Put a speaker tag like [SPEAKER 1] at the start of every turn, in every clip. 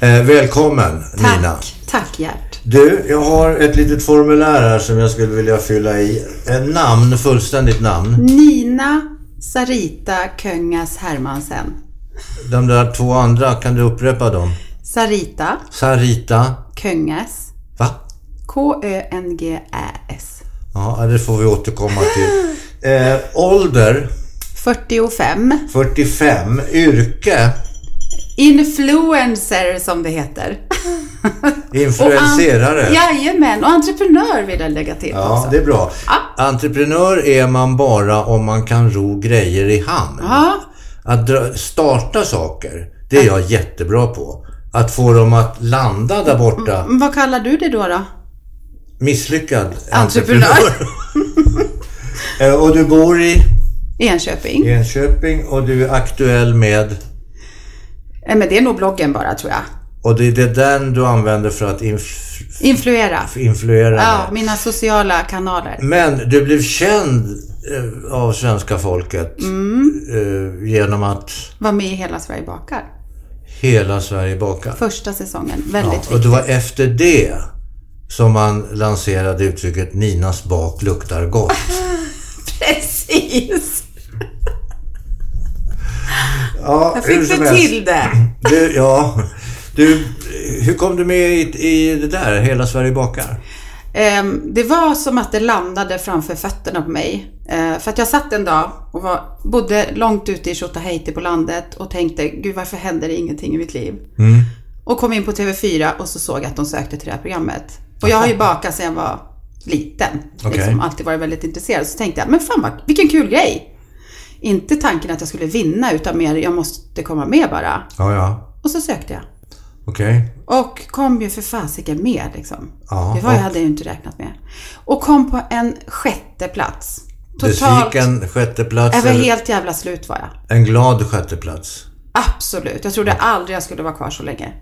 [SPEAKER 1] Eh, välkommen
[SPEAKER 2] Tack.
[SPEAKER 1] Nina.
[SPEAKER 2] Tack Gert.
[SPEAKER 1] Du, jag har ett litet formulär här som jag skulle vilja fylla i. En namn, fullständigt namn.
[SPEAKER 2] Nina Sarita Köngas Hermansen.
[SPEAKER 1] De där två andra, kan du upprepa dem?
[SPEAKER 2] Sarita
[SPEAKER 1] Sarita,
[SPEAKER 2] Köngas.
[SPEAKER 1] va?
[SPEAKER 2] K-Ö-N-G-Ä-S.
[SPEAKER 1] Ja, det får vi återkomma till. Eh, ålder,
[SPEAKER 2] 45.
[SPEAKER 1] 45. Yrke,
[SPEAKER 2] Influencer som det heter. Och
[SPEAKER 1] influenserare.
[SPEAKER 2] an- Jajamän, och entreprenör vill jag lägga till
[SPEAKER 1] Ja,
[SPEAKER 2] också.
[SPEAKER 1] det är bra. Entreprenör är man bara om man kan ro grejer i hamn.
[SPEAKER 2] Ja,
[SPEAKER 1] Att dra, starta saker, det är jag jättebra på. Att få dem att landa där borta.
[SPEAKER 2] men vad kallar du det då? då?
[SPEAKER 1] Misslyckad
[SPEAKER 2] Entreprenör.
[SPEAKER 1] Eh, och du bor i
[SPEAKER 2] Enköping?
[SPEAKER 1] E- Enköping och du är aktuell med
[SPEAKER 2] Eh, Men det är nog bloggen bara tror jag.
[SPEAKER 1] och det är det den du använder för att inf-
[SPEAKER 2] Influera.
[SPEAKER 1] influera.
[SPEAKER 2] Ja,
[SPEAKER 1] med.
[SPEAKER 2] mina sociala kanaler.
[SPEAKER 1] Men du blev känd eh, av svenska folket eh, genom att
[SPEAKER 2] Var med i Hela Sverige bakar.
[SPEAKER 1] hela Sverige bakar.
[SPEAKER 2] Första säsongen. Väldigt
[SPEAKER 1] Ja, och det var efter det som man lanserade uttrycket Ninas bak luktar gott.
[SPEAKER 2] Precis!
[SPEAKER 1] Ja,
[SPEAKER 2] Jag fick du till det.
[SPEAKER 1] Du, ja. Du, hur kom du med i, i det där, Hela Sverige bakar?
[SPEAKER 2] Ehm, Det var som att det landade framför fötterna på mig. Eh, För att jag satt en dag och var, bodde långt ute i Tjotahejti på landet och tänkte, gud varför händer det ingenting i mitt liv? Och kom in på TV4 och så såg jag att de sökte till det här programmet. Och jag har ju bakat sedan jag var liten.
[SPEAKER 1] Okej.
[SPEAKER 2] Liksom, alltid varit väldigt intresserad. Så tänkte jag, men fan vad, vilken kul grej! Inte tanken att jag skulle vinna utan mer, jag måste komma med bara.
[SPEAKER 1] Ja, ja.
[SPEAKER 2] Och så sökte jag.
[SPEAKER 1] Okej.
[SPEAKER 2] Och kom ju för fasiken med liksom.
[SPEAKER 1] Ja,
[SPEAKER 2] det var, jag
[SPEAKER 1] och-
[SPEAKER 2] hade jag ju inte räknat med. Och kom på en sjätte plats. Totalt.
[SPEAKER 1] Besviken sjätteplats,
[SPEAKER 2] Jag var
[SPEAKER 1] eller
[SPEAKER 2] helt jävla slut var jag.
[SPEAKER 1] en glad sjätteplats.
[SPEAKER 2] Absolut. Jag trodde aldrig jag skulle vara kvar så länge.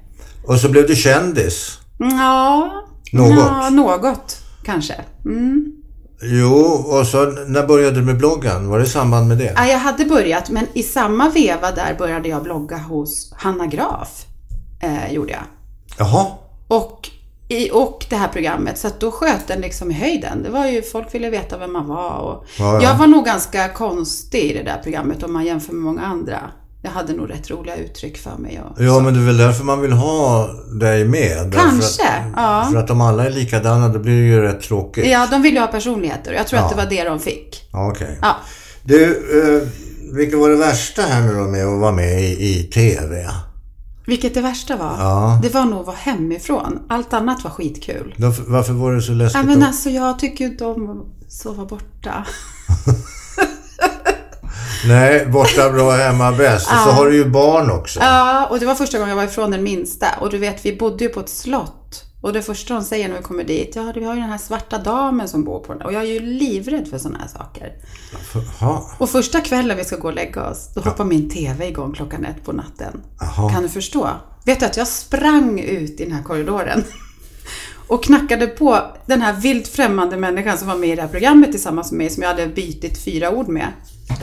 [SPEAKER 1] Och så blev du kändis.
[SPEAKER 2] Ja.
[SPEAKER 1] Något.
[SPEAKER 2] Ja, något kanske. Mm.
[SPEAKER 1] Jo, och så när började du med bloggen? Var det i samband med det?
[SPEAKER 2] Ja, jag hade börjat men i samma veva där började jag blogga hos Hanna Graf. Eh, gjorde jag.
[SPEAKER 1] Jaha.
[SPEAKER 2] Och, i, och det här programmet. Så att då sköt den liksom i höjden. Det var ju, folk ville veta vem man var och
[SPEAKER 1] Ja, ja.
[SPEAKER 2] Jag var nog ganska konstig i det där programmet om man jämför med många andra. Jag hade nog rätt roliga uttryck för mig och
[SPEAKER 1] Ja, men det är väl därför man vill ha dig med? Därför
[SPEAKER 2] Kanske,
[SPEAKER 1] Att,
[SPEAKER 2] ja.
[SPEAKER 1] För att om alla är likadana, då blir det ju rätt tråkigt.
[SPEAKER 2] Ja, de ville ju ha personligheter och jag tror
[SPEAKER 1] Ja.
[SPEAKER 2] att det var det de fick.
[SPEAKER 1] Ja, Okej.
[SPEAKER 2] Ja.
[SPEAKER 1] Du, eh, vilket var det värsta här nu då med att vara med i, i TV?
[SPEAKER 2] Vilket det värsta var,
[SPEAKER 1] Ja.
[SPEAKER 2] det var nog att vara hemifrån. Allt annat var skitkul.
[SPEAKER 1] Varför, varför var det så läskigt?
[SPEAKER 2] Ja, men
[SPEAKER 1] att-
[SPEAKER 2] alltså jag tycker ju inte om att sova borta.
[SPEAKER 1] Nej, borta bra, hemma bäst. Och så har du ju barn också.
[SPEAKER 2] Ja, och det var första gången jag var ifrån den minsta. Och du vet, vi bodde ju på ett slott. Och det första de säger när vi kommer dit, ja vi har ju den här svarta damen som bor på den. Och jag är ju livrädd för sådana här saker.
[SPEAKER 1] Jaha.
[SPEAKER 2] Och första kvällen vi ska gå och lägga oss, då hoppar min TV igång klockan ett på natten.
[SPEAKER 1] Jaha.
[SPEAKER 2] Kan du förstå? Vet du att jag sprang ut i den här korridoren och knackade på den här vilt främmande människan som var med i det här programmet tillsammans med mig, som jag hade bytt fyra ord med.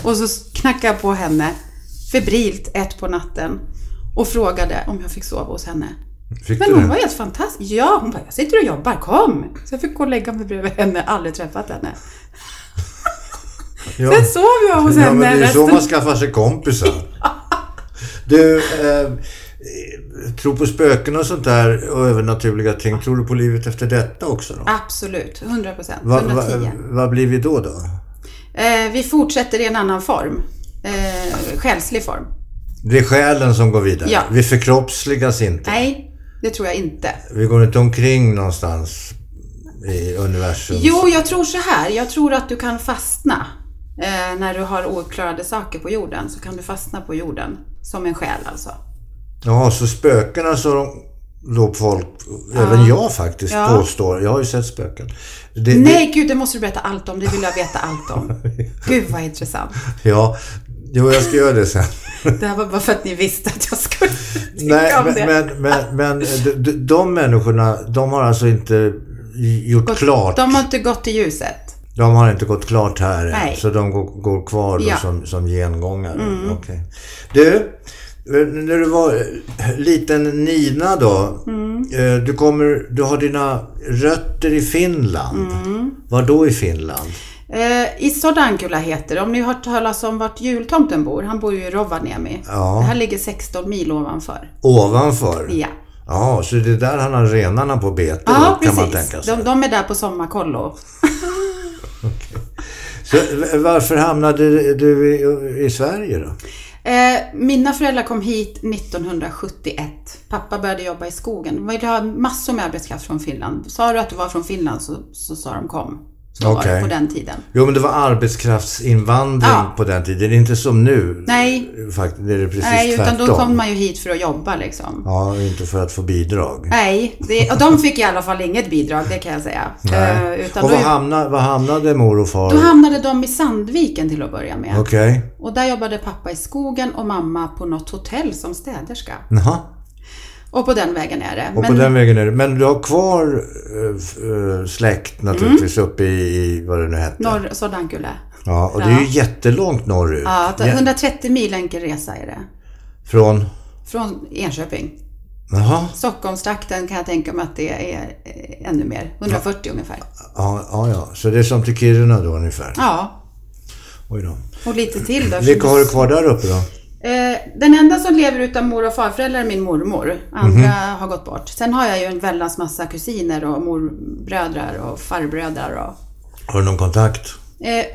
[SPEAKER 2] Och så knackade jag på henne febrilt ett på natten och frågade om jag fick sova hos henne.
[SPEAKER 1] Fick
[SPEAKER 2] Men
[SPEAKER 1] du
[SPEAKER 2] hon
[SPEAKER 1] det?
[SPEAKER 2] var helt fantastisk. Ja, hon bara, jag sitter och jobbar, kom! Så jag fick gå och lägga mig bredvid henne, aldrig träffat henne.
[SPEAKER 1] Ja.
[SPEAKER 2] Sen sov jag hos
[SPEAKER 1] ja, men
[SPEAKER 2] henne
[SPEAKER 1] det är ju så
[SPEAKER 2] resten
[SPEAKER 1] man skaffar sig kompisar. Du, eh, tro på spöken och sånt där och övernaturliga ting. Tror du på livet efter detta också då?
[SPEAKER 2] Absolut, 100 procent.
[SPEAKER 1] Va-
[SPEAKER 2] 110.
[SPEAKER 1] va- vad blir vi då då?
[SPEAKER 2] Eh, vi fortsätter i en annan form. Eh, själslig form.
[SPEAKER 1] Det är själen som går vidare.
[SPEAKER 2] Ja.
[SPEAKER 1] Vi förkroppsligas inte.
[SPEAKER 2] Nej, det tror jag inte.
[SPEAKER 1] Vi går inte omkring någonstans i universum.
[SPEAKER 2] Jo, jag tror så här. Jag tror att du kan fastna. Eh, när du har ouppklarade saker på jorden så kan du fastna på jorden. Som en själ alltså.
[SPEAKER 1] Ja, så spökena så de, då folk, även jag faktiskt,
[SPEAKER 2] Ja.
[SPEAKER 1] påstår. Jag har ju sett spöken. Det,
[SPEAKER 2] Nej, gud, det måste du berätta allt om. Det vill jag veta allt om. Gud, vad intressant.
[SPEAKER 1] Det, ja, jo, jag ska göra det sen.
[SPEAKER 2] Det här var bara för att ni visste att jag skulle tycka
[SPEAKER 1] Nej,
[SPEAKER 2] om
[SPEAKER 1] men,
[SPEAKER 2] det.
[SPEAKER 1] men, men, men de- de, de människorna, de har alltså inte gjort klart.
[SPEAKER 2] De har inte gått till ljuset.
[SPEAKER 1] De har inte gått klart här än,
[SPEAKER 2] Nej.
[SPEAKER 1] så de går, går kvar då
[SPEAKER 2] Ja. Mm.
[SPEAKER 1] som, som gengångare. Okej. Du, När du var liten Nina då.
[SPEAKER 2] Mm.
[SPEAKER 1] eh, Du, kommer, du har dina rötter i Finland.
[SPEAKER 2] Mm.
[SPEAKER 1] Var då i Finland?
[SPEAKER 2] Eh, I Sodankula heter det, om ni har hört talas om vart jultomten bor, han bor ju i Rovaniemi.
[SPEAKER 1] Ja.
[SPEAKER 2] Det här ligger 16 mil ovanför.
[SPEAKER 1] Ovanför?
[SPEAKER 2] Ja,
[SPEAKER 1] Ja, så det är där han har renarna på bete då,
[SPEAKER 2] ja
[SPEAKER 1] kan man
[SPEAKER 2] precis.
[SPEAKER 1] tänka sig.
[SPEAKER 2] De, de är där på sommarkollo.
[SPEAKER 1] Så, v- varför hamnade du i, i Sverige då?
[SPEAKER 2] Eh, mina föräldrar kom hit 1971. Pappa började jobba i skogen. De ville ha massor med arbetskraft från Finland. Sa du att du var från Finland så, så sa de kom. Så var det
[SPEAKER 1] Okej.
[SPEAKER 2] på den tiden.
[SPEAKER 1] Jo, men det var arbetskraftsinvandring
[SPEAKER 2] Ja.
[SPEAKER 1] på den tiden. Det är inte som nu.
[SPEAKER 2] Nej,
[SPEAKER 1] Faktiskt det är det precis
[SPEAKER 2] nej utan
[SPEAKER 1] tvärtom.
[SPEAKER 2] då kom man ju hit för att jobba liksom.
[SPEAKER 1] Ja, inte för att få bidrag.
[SPEAKER 2] Nej, det, och de fick i alla fall inget bidrag, det kan jag säga. Eh,
[SPEAKER 1] Nej.
[SPEAKER 2] utan
[SPEAKER 1] och
[SPEAKER 2] då,
[SPEAKER 1] var hamnade, var hamnade mor och far?
[SPEAKER 2] då hamnade de i Sandviken till att börja med.
[SPEAKER 1] Okej.
[SPEAKER 2] Och där jobbade pappa i skogen och mamma på något hotell som städerska.
[SPEAKER 1] Jaha.
[SPEAKER 2] Och på den vägen är det.
[SPEAKER 1] Och på den vägen är det. Men du har kvar eh, f- eh, släkt naturligtvis
[SPEAKER 2] Mm.
[SPEAKER 1] uppe i, i vad det nu hette.
[SPEAKER 2] norr, Sodankule.
[SPEAKER 1] Ja, och det är ju jättelångt norrut.
[SPEAKER 2] Ja,
[SPEAKER 1] Ja,
[SPEAKER 2] 130 mil enkel resa är det.
[SPEAKER 1] Från?
[SPEAKER 2] Från Enköping.
[SPEAKER 1] Jaha.
[SPEAKER 2] Stockholmstrakten kan jag tänka mig att det är eh, ännu mer. 140 ungefär.
[SPEAKER 1] Ja, ja, ja. Så det är som till Kiruna då ungefär.
[SPEAKER 2] Ja,
[SPEAKER 1] Oj då.
[SPEAKER 2] och lite till då.
[SPEAKER 1] Vilka har du kvar där uppe då?
[SPEAKER 2] Eh, Den enda som lever utan mor och farföräldrar är min mormor. Andra
[SPEAKER 1] Mhm.
[SPEAKER 2] har gått bort. Sen har jag ju en väldans massa kusiner och morbrödrar och farbrödrar. Och,
[SPEAKER 1] Har du någon kontakt?
[SPEAKER 2] eh,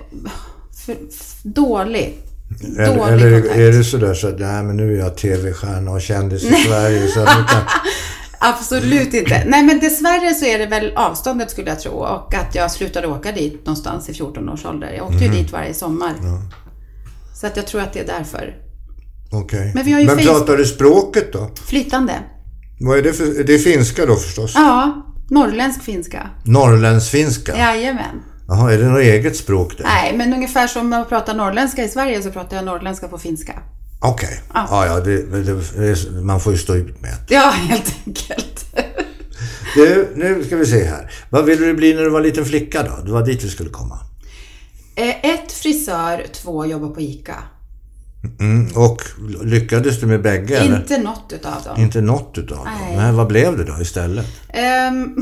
[SPEAKER 2] för, f- dålig.
[SPEAKER 1] Eller,
[SPEAKER 2] dålig
[SPEAKER 1] eller
[SPEAKER 2] kontakt.
[SPEAKER 1] är det sådär så att nej, men nu är jag tv-stjärna och kändis i Sverige så att nu kan...
[SPEAKER 2] Absolut inte. Nej men dessvärre så är det väl avståndet skulle jag tro och att jag slutade åka dit någonstans i 14 års ålder. Jag åkte
[SPEAKER 1] Mhm.
[SPEAKER 2] ju dit varje sommar. Så att jag tror att det är därför.
[SPEAKER 1] Okej.
[SPEAKER 2] Men vi har ju
[SPEAKER 1] Men
[SPEAKER 2] Facebook-
[SPEAKER 1] pratar du språket då?
[SPEAKER 2] Flytande.
[SPEAKER 1] Vad är det för... Det är finska då förstås?
[SPEAKER 2] Ja, norrländsk finska.
[SPEAKER 1] Norrländsk-finska?
[SPEAKER 2] Jajamän.
[SPEAKER 1] Jaha, är det något eget språk det?
[SPEAKER 2] Nej, men ungefär som man pratar norrländska i Sverige så pratar jag norrländska på finska.
[SPEAKER 1] Okej. Ja, ja, det, det, det, man får ju stå ut med.
[SPEAKER 2] Ja, helt enkelt.
[SPEAKER 1] Du, nu ska vi se här. Vad ville du bli när du var liten flicka då? Det var dit vi skulle komma.
[SPEAKER 2] Eh, Ett frisör, två jobbar på ICA.
[SPEAKER 1] Mm, och lyckades du med bägge eller?
[SPEAKER 2] Inte något utav dem.
[SPEAKER 1] Inte något utav dem.
[SPEAKER 2] Nej.
[SPEAKER 1] Nej, vad blev det då istället?
[SPEAKER 2] Ehm,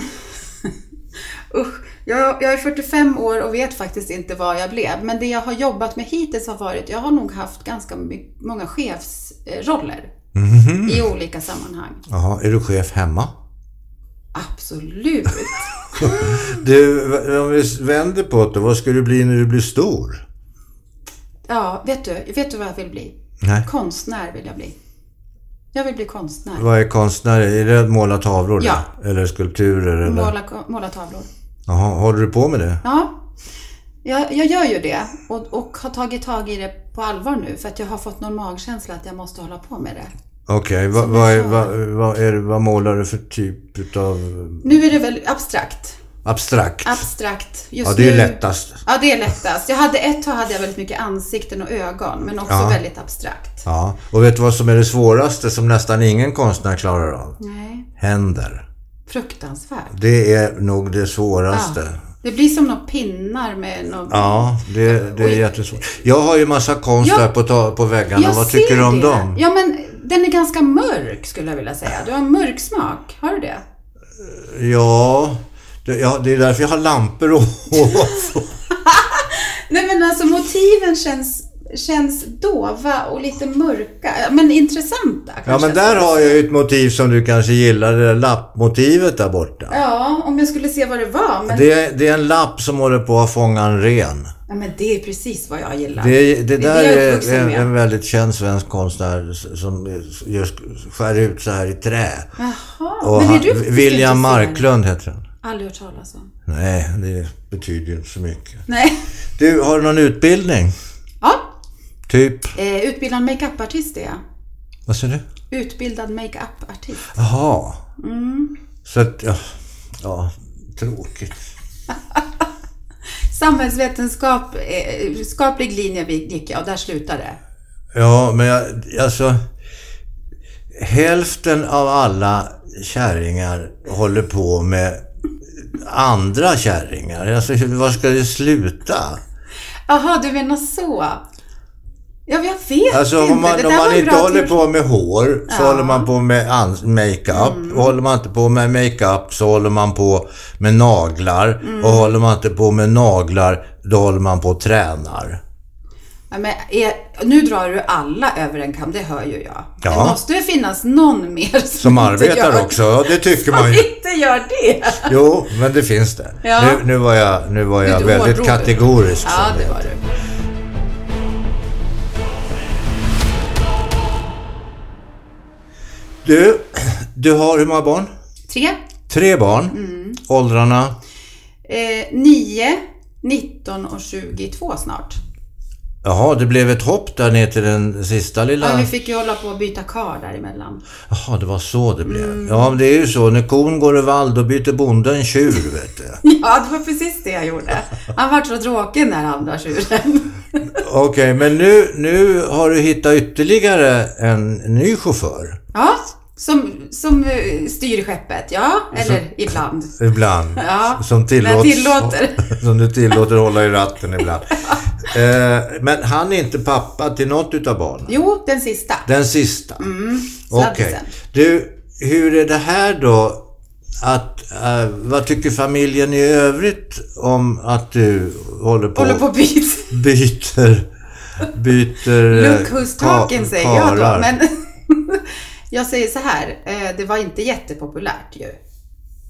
[SPEAKER 2] usch, jag, jag är 45 år och vet faktiskt inte vad jag blev. Men det jag har jobbat med hittills har varit, jag har nog haft ganska my- många chefsroller.
[SPEAKER 1] Mhm.
[SPEAKER 2] I olika sammanhang.
[SPEAKER 1] Jaha, är du chef hemma?
[SPEAKER 2] Absolut.
[SPEAKER 1] Du, v- om vi vänder på det, vad ska du bli när du blir stor?
[SPEAKER 2] Ja, vet du, vet du vad jag vill bli?
[SPEAKER 1] Nej.
[SPEAKER 2] Konstnär vill jag bli. Jag vill bli konstnär.
[SPEAKER 1] Vad är konstnär? Är det att måla tavlor?
[SPEAKER 2] Ja.
[SPEAKER 1] Eller, eller skulpturer? Eller?
[SPEAKER 2] Måla, måla tavlor.
[SPEAKER 1] Jaha, håller du på med det?
[SPEAKER 2] Ja, jag, jag gör ju det och, och har tagit tag i det på allvar nu för att jag har fått någon magkänsla att jag måste hålla på med det.
[SPEAKER 1] Okej, vad vad är- vad- vad är det- vad målar du för typ utav
[SPEAKER 2] Nu är det väl abstrakt.
[SPEAKER 1] abstrakt?
[SPEAKER 2] Abstrakt. Just
[SPEAKER 1] Ja, det är ju
[SPEAKER 2] nu.
[SPEAKER 1] lättast.
[SPEAKER 2] Ja, det är lättast. Jag hade ett tag hade jag väldigt mycket ansikten och ögon men också
[SPEAKER 1] Ja.
[SPEAKER 2] väldigt abstrakt.
[SPEAKER 1] Ja, och vet du vad som är det svåraste som nästan ingen konstnär klarar av?
[SPEAKER 2] Nej,
[SPEAKER 1] Händer.
[SPEAKER 2] fruktansvärt.
[SPEAKER 1] Det är nog det svåraste.
[SPEAKER 2] Det blir som några pinnar med någon...
[SPEAKER 1] Ja, det, det är jättesvårt. Jag har ju massa konst
[SPEAKER 2] Ja.
[SPEAKER 1] här på, ta- på väggarna. Vad tycker du om
[SPEAKER 2] det.
[SPEAKER 1] dem?
[SPEAKER 2] Ja, men den är ganska mörk skulle jag vilja säga. Du har en mörk smak. Har du det?
[SPEAKER 1] Ja, det, ja, det är därför jag har lampor och...
[SPEAKER 2] Nej men alltså motiven känns, känns dova och lite mörka, men intressanta kanske.
[SPEAKER 1] Ja, men där har jag ju ett motiv som du kanske gillar. Det där lappmotivet där borta.
[SPEAKER 2] Ja, om jag skulle se vad det var. Men...
[SPEAKER 1] Det, är- det är en lapp som håller på att fånga en ren.
[SPEAKER 2] Ja, men det är precis vad jag gillar.
[SPEAKER 1] Det, är- det där
[SPEAKER 2] jag
[SPEAKER 1] är,
[SPEAKER 2] uppvuxen
[SPEAKER 1] en,
[SPEAKER 2] med.
[SPEAKER 1] en väldigt känd svensk konstnär s- som just skär ut så här i trä.
[SPEAKER 2] Jaha,
[SPEAKER 1] Och
[SPEAKER 2] men är
[SPEAKER 1] han,
[SPEAKER 2] du faktiskt
[SPEAKER 1] William
[SPEAKER 2] intresserad?
[SPEAKER 1] Marklund heter han.
[SPEAKER 2] Aldrig hört talas om.
[SPEAKER 1] Nej, det betyder ju inte så mycket.
[SPEAKER 2] Nej.
[SPEAKER 1] Du, har du någon utbildning?
[SPEAKER 2] Ja,
[SPEAKER 1] Typ?
[SPEAKER 2] eh, utbildad makeup-artist är jag.
[SPEAKER 1] Vad säger du?
[SPEAKER 2] Utbildad makeup-artist.
[SPEAKER 1] Jaha.
[SPEAKER 2] Mm.
[SPEAKER 1] Så att, ja, ja, tråkigt.
[SPEAKER 2] Samhällsvetenskap, eh, skaplig linje vi- gick jag och där slutade det.
[SPEAKER 1] Ja, men jag, alltså... Hälften av alla kärringar håller på med andra kärringar. Alltså, hur- var ska det sluta?
[SPEAKER 2] Jaha, du menar så. Ja, jag vet
[SPEAKER 1] Alltså
[SPEAKER 2] inte.
[SPEAKER 1] om man,
[SPEAKER 2] det
[SPEAKER 1] om
[SPEAKER 2] där var
[SPEAKER 1] man
[SPEAKER 2] en
[SPEAKER 1] inte
[SPEAKER 2] bra
[SPEAKER 1] håller
[SPEAKER 2] tips.
[SPEAKER 1] på med hår så
[SPEAKER 2] Ja. Mm.
[SPEAKER 1] håller man på med ans- makeup. Och Håller man inte på med makeup så håller man på med naglar.
[SPEAKER 2] Mm.
[SPEAKER 1] Och håller man inte på med naglar då håller man på och tränar.
[SPEAKER 2] Ja, men är, nu drar du alla över en kam, det hör ju jag.
[SPEAKER 1] Ja.
[SPEAKER 2] Det måste ju finnas någon mer som,
[SPEAKER 1] Som
[SPEAKER 2] inte
[SPEAKER 1] arbetar
[SPEAKER 2] gör,
[SPEAKER 1] också, ja det tycker
[SPEAKER 2] Som
[SPEAKER 1] man ju.
[SPEAKER 2] inte gör det.
[SPEAKER 1] Jo, men det finns det.
[SPEAKER 2] Ja.
[SPEAKER 1] Nu, nu var jag, nu var jag
[SPEAKER 2] Du
[SPEAKER 1] väldigt
[SPEAKER 2] hårdrog.
[SPEAKER 1] kategorisk.
[SPEAKER 2] Ja,
[SPEAKER 1] som
[SPEAKER 2] det
[SPEAKER 1] heter.
[SPEAKER 2] var du.
[SPEAKER 1] Du, du har hur många barn?
[SPEAKER 2] Tre,
[SPEAKER 1] Tre barn.
[SPEAKER 2] Mm.
[SPEAKER 1] Åldrarna?
[SPEAKER 2] eh, nio, 19 och 22 snart.
[SPEAKER 1] Jaha, det blev ett hopp där ner till den sista lilla...
[SPEAKER 2] Ja, vi fick ju hålla på att byta kar däremellan.
[SPEAKER 1] Jaha, det var så det blev.
[SPEAKER 2] Mm.
[SPEAKER 1] Ja, men det är ju så. När kon går i vall, då byter bonden tjur, vet du.
[SPEAKER 2] Ja, det var precis det jag gjorde. Han var så tråkig den där andra tjuren.
[SPEAKER 1] Okej, men nu, nu har du hittat ytterligare en ny chaufför.
[SPEAKER 2] Ja, som, som eh, styr skeppet. Ja, eller ibland.
[SPEAKER 1] Ibland.
[SPEAKER 2] Ja,
[SPEAKER 1] som tillåts,
[SPEAKER 2] men tillåter.
[SPEAKER 1] Som du tillåter hålla i ratten ibland. eh, men han är inte pappa till något utav barnen?
[SPEAKER 2] Jo, den sista.
[SPEAKER 1] Den sista?
[SPEAKER 2] Mm.
[SPEAKER 1] Okej.
[SPEAKER 2] sladdisen.
[SPEAKER 1] Du, hur är det här då? Att, eh, vad tycker familjen i övrigt om att du håller på
[SPEAKER 2] Håller på att byta.
[SPEAKER 1] byter... Byter... eh,
[SPEAKER 2] Look who's talking
[SPEAKER 1] ka-
[SPEAKER 2] säger jag då.
[SPEAKER 1] karar.
[SPEAKER 2] Men jag säger så här, eh, det var inte jättepopulärt ju.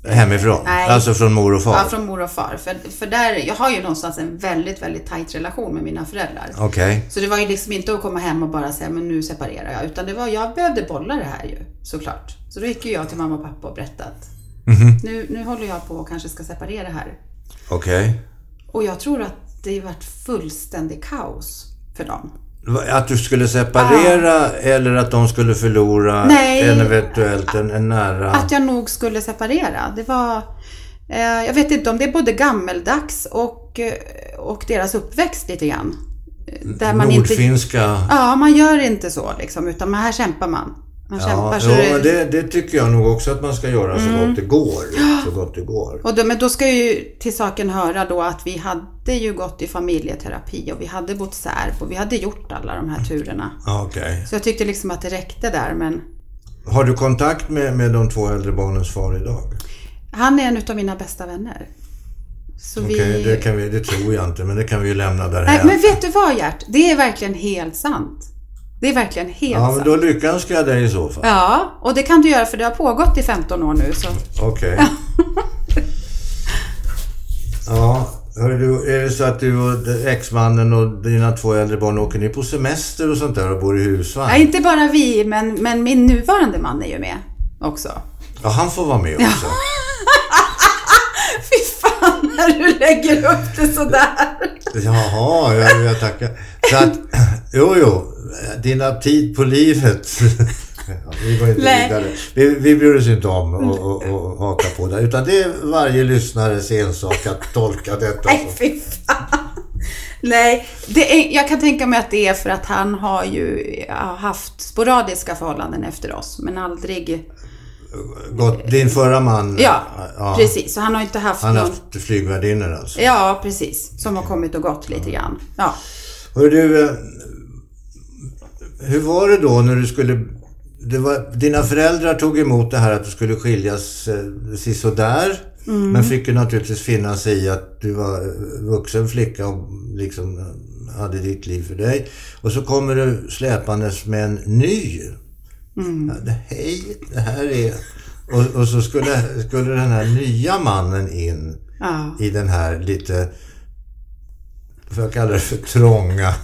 [SPEAKER 1] Hemifrån?
[SPEAKER 2] Nej.
[SPEAKER 1] Alltså från mor och far?
[SPEAKER 2] Ja, från mor och far. För, för där, jag har ju någonstans en väldigt, väldigt tajt relation med mina föräldrar.
[SPEAKER 1] Okej.
[SPEAKER 2] Så det var ju liksom inte att komma hem och bara säga, men nu separerar jag. Utan det var, jag behövde bolla det här ju, såklart. Så då gick ju jag till mamma och pappa och berättade att
[SPEAKER 1] Mhm.
[SPEAKER 2] nu, nu håller jag på och kanske ska separera här.
[SPEAKER 1] Okej.
[SPEAKER 2] Och jag tror att det vart fullständig kaos för dem.
[SPEAKER 1] Va- Att du skulle separera eller att de skulle förlora
[SPEAKER 2] Nej.
[SPEAKER 1] en eventuellt en, en nära...
[SPEAKER 2] att jag nog skulle separera. Det var, eh, jag vet inte om det är både gammeldags och, eh, och deras uppväxt lite grann. Eh, Där man inte,
[SPEAKER 1] Nordfinska...
[SPEAKER 2] ja, man gör inte så liksom, utan här kämpar man. Man
[SPEAKER 1] Ja,
[SPEAKER 2] kämpar så
[SPEAKER 1] jo,
[SPEAKER 2] det- Mm.
[SPEAKER 1] men det, det tycker jag nog också att man ska göra så gott det går. Så gott det går.
[SPEAKER 2] Och då, men då ska ju till saken höra då att vi hade ju gått i familjeterapi och vi hade bott sär och vi hade gjort alla de här turerna.
[SPEAKER 1] Ja, Okej.
[SPEAKER 2] Så jag tyckte liksom att det räckte där men
[SPEAKER 1] Har du kontakt med, med de två äldre barnens far idag?
[SPEAKER 2] han är en utav mina bästa vänner. Så
[SPEAKER 1] Okej,
[SPEAKER 2] vi...
[SPEAKER 1] det, kan vi, det tror jag inte, men det kan vi ju lämna därhän.
[SPEAKER 2] Nej, men vet du vad Gert? Det är verkligen helt sant. Det är verkligen helt
[SPEAKER 1] Ja, men
[SPEAKER 2] sant.
[SPEAKER 1] då lyckönskar jag dig i så fall.
[SPEAKER 2] Ja, och det kan du göra för det har pågått i 15 år nu. Så.
[SPEAKER 1] Okej. ja, hörru du, är det så att du och exmannen och dina två äldre barn åker ni på semester och sånt där och bor i husvagn?
[SPEAKER 2] Nej, inte bara vi, men, men min nuvarande man är ju med också.
[SPEAKER 1] Ja, han får vara med också.
[SPEAKER 2] Fy fan när du lägger upp det sådär.
[SPEAKER 1] Jaha, jag, jag tackar. Så att, jo, jo, din aptit på livet. Ja, Vi går inte
[SPEAKER 2] Nej.
[SPEAKER 1] vidare. Vi, vi bryr oss inte om att och, och haka på det. Utan det är varje lyssnares ensak att tolka detta.
[SPEAKER 2] Nej, fy fan. Nej, det är, jag kan tänka mig att det är för att han har ju har haft sporadiska förhållanden efter oss, men aldrig...
[SPEAKER 1] som Gott, din förra man.
[SPEAKER 2] Ja, precis. Så han har inte haft
[SPEAKER 1] Han har
[SPEAKER 2] någon...
[SPEAKER 1] haft flygvärdinnor alltså.
[SPEAKER 2] Ja, precis. Som har kommit och gått lite grann. Ja.
[SPEAKER 1] Hör du, eh, hur var det då när du skulle... Det var, dina föräldrar tog emot det här att du skulle skiljas eh, sådär. Men fick ju naturligtvis finna sig i att du var eh, vuxen flicka och liksom eh, hade ditt liv för dig. Och så kommer du släpandes med en ny. Ja, det- Hej, det här är... Och, och så skulle, skulle den här nya mannen in
[SPEAKER 2] ja.
[SPEAKER 1] i den här lite, får jag kalla det för trånga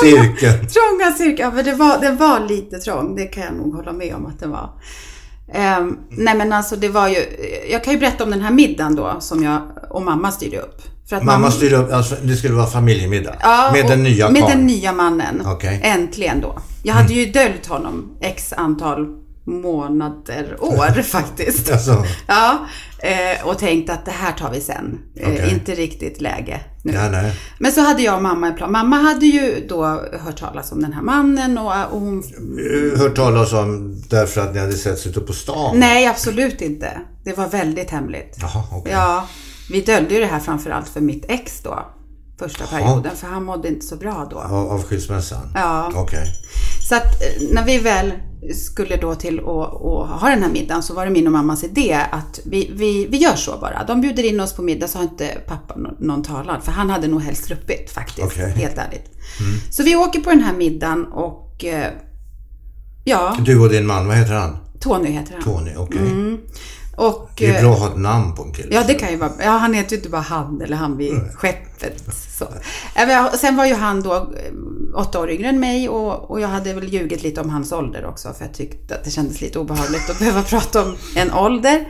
[SPEAKER 1] cirkeln.
[SPEAKER 2] Trånga cirklar, för det var, den var lite trång. Det kan jag nog hålla med om att den var. Ehm, nej men alltså det var ju, jag kan ju berätta om den här middagen då som jag och mamma styrde upp. För att
[SPEAKER 1] Mamma styrde upp, alltså det skulle vara familjemiddag.
[SPEAKER 2] Ja,
[SPEAKER 1] med
[SPEAKER 2] och-
[SPEAKER 1] den nya
[SPEAKER 2] Med
[SPEAKER 1] karln.
[SPEAKER 2] den nya mannen.
[SPEAKER 1] Okej.
[SPEAKER 2] Äntligen då. Jag hade ju döljt honom x antal månader, år faktiskt.
[SPEAKER 1] Alltså,
[SPEAKER 2] Ja, eh, och tänkt att det här tar vi sen.
[SPEAKER 1] Okej.
[SPEAKER 2] Eh, inte riktigt läge nu.
[SPEAKER 1] nej, nej.
[SPEAKER 2] Men så hade jag och mamma en plan. Mamma hade ju då hört talas om den här mannen och, och hon...
[SPEAKER 1] Hört talas om därför att ni hade setts ute på stan?
[SPEAKER 2] Nej, absolut inte. Det var väldigt hemligt.
[SPEAKER 1] Jaha, okej.
[SPEAKER 2] Ja, vi döljde ju det här framförallt för mitt ex då. första perioden för han mådde inte så bra då.
[SPEAKER 1] Av, av skilsmässan?
[SPEAKER 2] Ja.
[SPEAKER 1] Okej.
[SPEAKER 2] Så att eh, när vi väl skulle då till att att ha den här middagen så var det min och mammas idé att vi, vi, vi gör så bara. De bjuder in oss på middag så har inte pappa nå- någon talan för han hade nog helst sluppit faktiskt,
[SPEAKER 1] Okej. Mm.
[SPEAKER 2] helt ärligt. Så vi åker på den här middagen och eh, ja,
[SPEAKER 1] Du och din man, vad heter han?
[SPEAKER 2] Tony heter han.
[SPEAKER 1] Tony, okej.
[SPEAKER 2] Och,
[SPEAKER 1] Det är
[SPEAKER 2] Mm, eh,
[SPEAKER 1] bra att ha ett namn på en kille.
[SPEAKER 2] Ja, det kan ju vara. Ja, han heter ju inte bara han eller han vid skeppet. Så. Äh, men jag- Sen var ju han då eh, åtta år yngre än mig och, och jag hade väl ljugit lite om hans ålder också för jag tyckte att det kändes lite obehagligt att behöva prata om en ålder.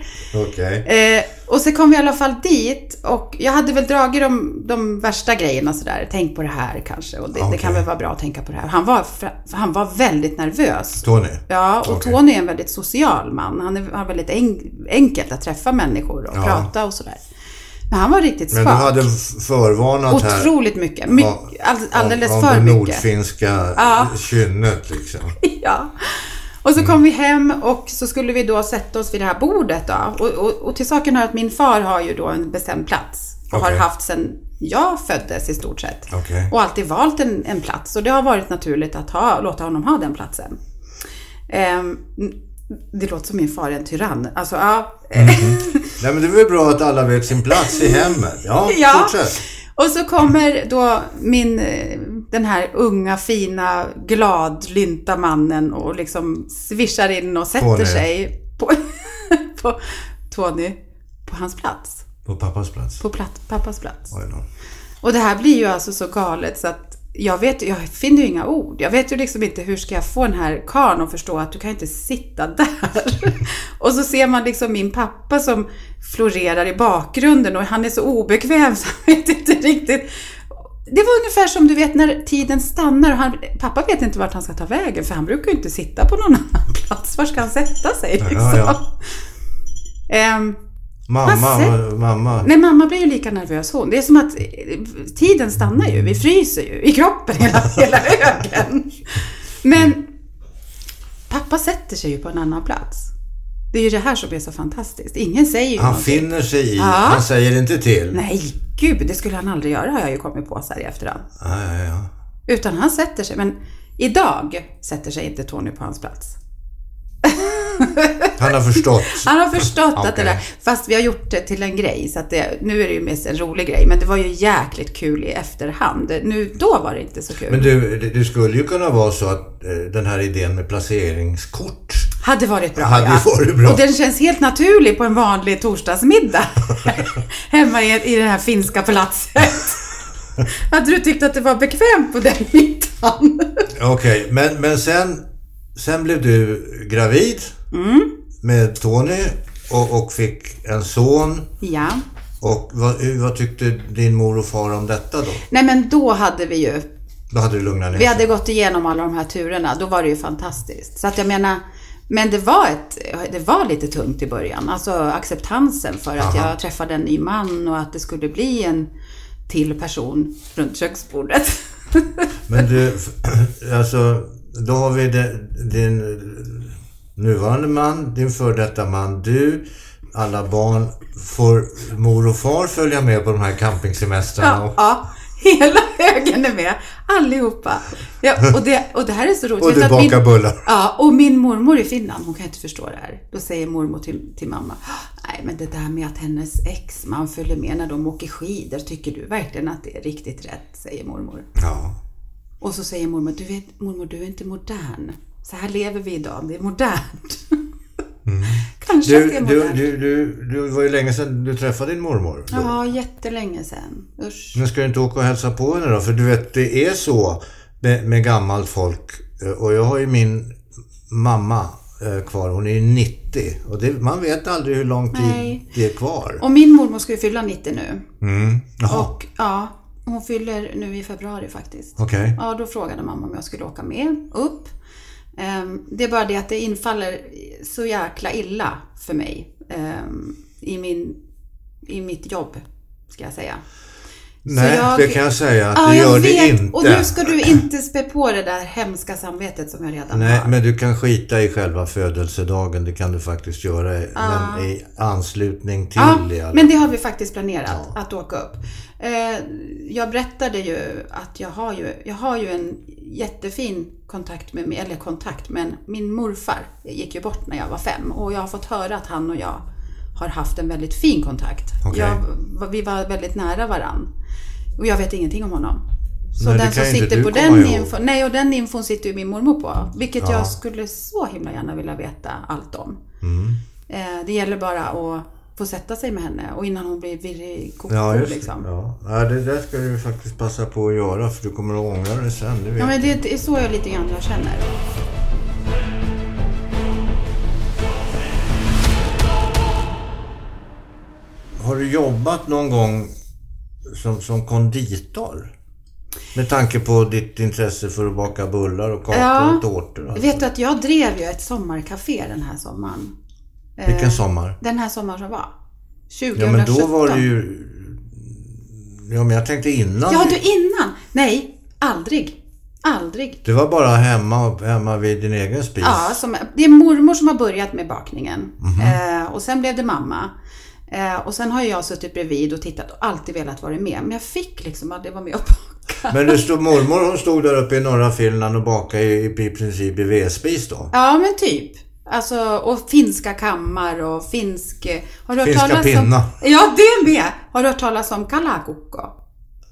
[SPEAKER 1] Okej.
[SPEAKER 2] Eh, och så kom vi i alla fall dit och jag hade väl dragit de, de värsta grejerna sådär. Tänk på det här kanske och det, det
[SPEAKER 1] Okej.
[SPEAKER 2] kan väl vara bra att tänka på det här. Han var, fra- han var väldigt nervös.
[SPEAKER 1] Tony?
[SPEAKER 2] Ja, och
[SPEAKER 1] Okej.
[SPEAKER 2] Tony är en väldigt social man. Han är, har väldigt en, enkelt att träffa människor och
[SPEAKER 1] Ja.
[SPEAKER 2] prata och sådär. Men han var riktigt
[SPEAKER 1] Men
[SPEAKER 2] svag.
[SPEAKER 1] du hade f- förvarnat här.
[SPEAKER 2] Otroligt mycket. My,
[SPEAKER 1] Ja,
[SPEAKER 2] all, alldeles
[SPEAKER 1] om, om
[SPEAKER 2] för
[SPEAKER 1] det
[SPEAKER 2] mycket.
[SPEAKER 1] nordfinska kynnet liksom.
[SPEAKER 2] Ja. Och så
[SPEAKER 1] Mm.
[SPEAKER 2] kom vi hem och så skulle vi då sätta oss vid det här bordet då. Och, och, och till saken hör att min far har ju då en bestämd plats. Och
[SPEAKER 1] Okej.
[SPEAKER 2] har haft sedan jag föddes i stort sett.
[SPEAKER 1] Okej.
[SPEAKER 2] Och alltid valt en, en plats. Och det har varit naturligt att ha, låta honom ha den platsen. Ehm, det låter som min far är en tyrann. Alltså, ja.
[SPEAKER 1] Nej men det är väl bra att alla vet sin plats i hemmet. Ja,
[SPEAKER 2] Ja.
[SPEAKER 1] fortsätt.
[SPEAKER 2] Och så kommer då min, eh, den här unga, fina, gladlynta mannen och liksom svischar in och sätter
[SPEAKER 1] Tony.
[SPEAKER 2] sig på, på Tony, på hans plats.
[SPEAKER 1] På pappas plats.
[SPEAKER 2] På platt, pappas plats.
[SPEAKER 1] Oj då.
[SPEAKER 2] Och det här blir ju alltså så galet så att jag vet jag finner ju inga ord. Jag vet ju liksom inte hur ska jag få den här karln att förstå att du kan inte sitta där. och så ser man liksom min pappa som florerar i bakgrunden och han är så obekväm så han vet inte riktigt. Det var ungefär som du vet när tiden stannar och han, pappa vet inte vart han ska ta vägen för han brukar ju inte sitta på någon annan plats. Var ska han sätta sig
[SPEAKER 1] Ja,
[SPEAKER 2] liksom?
[SPEAKER 1] ja.
[SPEAKER 2] Ehm,
[SPEAKER 1] Mamma,
[SPEAKER 2] Hasse?
[SPEAKER 1] mamma.
[SPEAKER 2] Nej, mamma blir ju lika nervös hon. Det är som att eh, tiden stannar ju. Vi fryser ju i kroppen hela, hela ögonen. Men pappa sätter sig ju på en annan plats. Det är ju det här som är så fantastiskt. Ingen säger ju
[SPEAKER 1] Han
[SPEAKER 2] någonting.
[SPEAKER 1] finner sig i,
[SPEAKER 2] Ja.
[SPEAKER 1] han säger inte till.
[SPEAKER 2] Nej, gud, det skulle han aldrig göra har jag ju kommit på så här i efterhand.
[SPEAKER 1] Ja, ja, ja.
[SPEAKER 2] Utan han sätter sig. Men idag sätter sig inte Tony på hans plats.
[SPEAKER 1] Han har förstått.
[SPEAKER 2] Han har förstått
[SPEAKER 1] Okej.
[SPEAKER 2] att det där, fast vi har gjort det till en grej, så att det, nu är det ju mest en rolig grej, men det var ju jäkligt kul i efterhand. Nu, då var det inte så kul.
[SPEAKER 1] Men du, det, det skulle ju kunna vara så att eh, den här idén med placeringskort
[SPEAKER 2] hade varit bra.
[SPEAKER 1] hade ju varit bra.
[SPEAKER 2] Och den känns helt naturlig på en vanlig torsdagsmiddag. Hemma i, i det här finska palatset. hade du tyckt att det var bekvämt på den middagen?
[SPEAKER 1] Okej, men, men sen, sen blev du gravid
[SPEAKER 2] Mm.
[SPEAKER 1] med Tony och, och fick en son.
[SPEAKER 2] ja.
[SPEAKER 1] Och vad, hur, vad tyckte din mor och far om detta då?
[SPEAKER 2] Nej men då hade vi ju
[SPEAKER 1] Då hade du lugnat ner
[SPEAKER 2] Vi
[SPEAKER 1] dig.
[SPEAKER 2] hade gått igenom alla de här turerna, då var det ju fantastiskt. Så att jag menar, men det var, ett, det var lite tungt i början. Alltså acceptansen för att jag träffade en ny man och att det skulle bli en till person runt köksbordet.
[SPEAKER 1] Men du, alltså, då har vi de, din nuvarande man, din före detta man, du, alla barn. Får mor och far följa med på de här campingsemestrarna?
[SPEAKER 2] ja,
[SPEAKER 1] Och,
[SPEAKER 2] ja, hela högen är med. Allihopa. Ja, och, det, och det här är så roligt.
[SPEAKER 1] och
[SPEAKER 2] Vet
[SPEAKER 1] du
[SPEAKER 2] att min-
[SPEAKER 1] bakar bullar?
[SPEAKER 2] Ja, och min mormor i Finland, hon kan inte förstå det här. Då säger mormor till, till mamma, nej men det där med att hennes exman följer med när de åker skidor, tycker du verkligen att det är riktigt rätt? Säger mormor.
[SPEAKER 1] Ja.
[SPEAKER 2] Och så säger mormor, du vet mormor, du är inte modern. Så här lever vi idag, det är modernt. Kanske att det
[SPEAKER 1] Mm. Du, du,
[SPEAKER 2] är modernt.
[SPEAKER 1] du, du, du var ju länge sedan du träffade din mormor. då.
[SPEAKER 2] Ja, jättelänge sedan. Usch.
[SPEAKER 1] Men ska du inte åka och hälsa på henne då? För du vet, det är så med, med gammalt folk. Eh, Och jag har ju min mamma eh, kvar. Hon är ju 90. Och det, man vet aldrig hur lång tid
[SPEAKER 2] Nej.
[SPEAKER 1] det är kvar.
[SPEAKER 2] Och min mormor ska ju fylla 90 nu.
[SPEAKER 1] Mm. Jaha,
[SPEAKER 2] Och ja, hon fyller nu i februari faktiskt.
[SPEAKER 1] okej.
[SPEAKER 2] Ja, då frågade mamma om jag skulle åka med upp. Ehm, Det är bara det att det infaller så jäkla illa för mig ehm, i, min, i mitt jobb, ska jag säga.
[SPEAKER 1] Nej,
[SPEAKER 2] jag-
[SPEAKER 1] det kan jag säga att
[SPEAKER 2] Ja,
[SPEAKER 1] det
[SPEAKER 2] jag
[SPEAKER 1] gör det
[SPEAKER 2] vet.
[SPEAKER 1] inte.
[SPEAKER 2] Och nu ska du inte spä på det där hemska samvetet som jag redan
[SPEAKER 1] Nej,
[SPEAKER 2] har.
[SPEAKER 1] men du kan skita i själva födelsedagen. Det kan du faktiskt göra. Men i anslutning till alltså.
[SPEAKER 2] Ja,
[SPEAKER 1] i alla
[SPEAKER 2] men det har vi faktiskt planerat att åka upp. Eh, jag berättade ju att jag har ju, jag har ju en jättefin kontakt med, eller kontakt, men min morfar gick ju bort när jag var fem och jag har fått höra att han och jag har haft en väldigt fin kontakt.
[SPEAKER 1] Okej.
[SPEAKER 2] Jag, vi var väldigt nära varann. Och jag vet ingenting om honom. Så
[SPEAKER 1] Nej, det
[SPEAKER 2] den som
[SPEAKER 1] kan inte
[SPEAKER 2] sitter
[SPEAKER 1] du
[SPEAKER 2] på
[SPEAKER 1] komma
[SPEAKER 2] den
[SPEAKER 1] ihåg.
[SPEAKER 2] infon, nej och den infon sitter ju min mormor på. Vilket
[SPEAKER 1] Ja.
[SPEAKER 2] jag skulle så himla gärna vilja veta allt om. Eh, Det gäller bara att få sätta sig med henne och innan hon blir virrig koko
[SPEAKER 1] Ja, just det.
[SPEAKER 2] liksom. Ja.
[SPEAKER 1] Ja. ja, det där ska du faktiskt passa på att göra för du kommer att ångra dig sen. Det vet
[SPEAKER 2] men det det är så jag lite grann jag känner.
[SPEAKER 1] jag. Har du jobbat någon gång som, som konditor? Med tanke på ditt intresse för att baka bullar och kakor
[SPEAKER 2] Ja.
[SPEAKER 1] och tårtor. Alltså.
[SPEAKER 2] Vet du att jag drev ju ett sommarcafé den här sommaren. Eh,
[SPEAKER 1] Vilken sommar?
[SPEAKER 2] Den här sommaren som var. 2017.
[SPEAKER 1] Ja, men då var det ju... Ja, men jag tänkte innan.
[SPEAKER 2] Ja, du innan! Nej, aldrig. Aldrig.
[SPEAKER 1] Det var bara hemma, hemma vid din egen spis.
[SPEAKER 2] Ja, som, det är mormor som har börjat med bakningen.
[SPEAKER 1] Mhm.
[SPEAKER 2] Eh, och sen blev det mamma. Eh, och sen har ju jag suttit bredvid och tittat och alltid velat vara med. Men jag fick liksom aldrig vara med och baka.
[SPEAKER 1] Men det stod, mormor hon stod där uppe i norra Finland och bakade i, i princip i vedspis då.
[SPEAKER 2] Ja, men typ. Alltså, och finska kammar och finsk... eh, Har du hört
[SPEAKER 1] Finska
[SPEAKER 2] talas
[SPEAKER 1] pinna.
[SPEAKER 2] Om, ja, det med! Har du hört talas om kalakukko?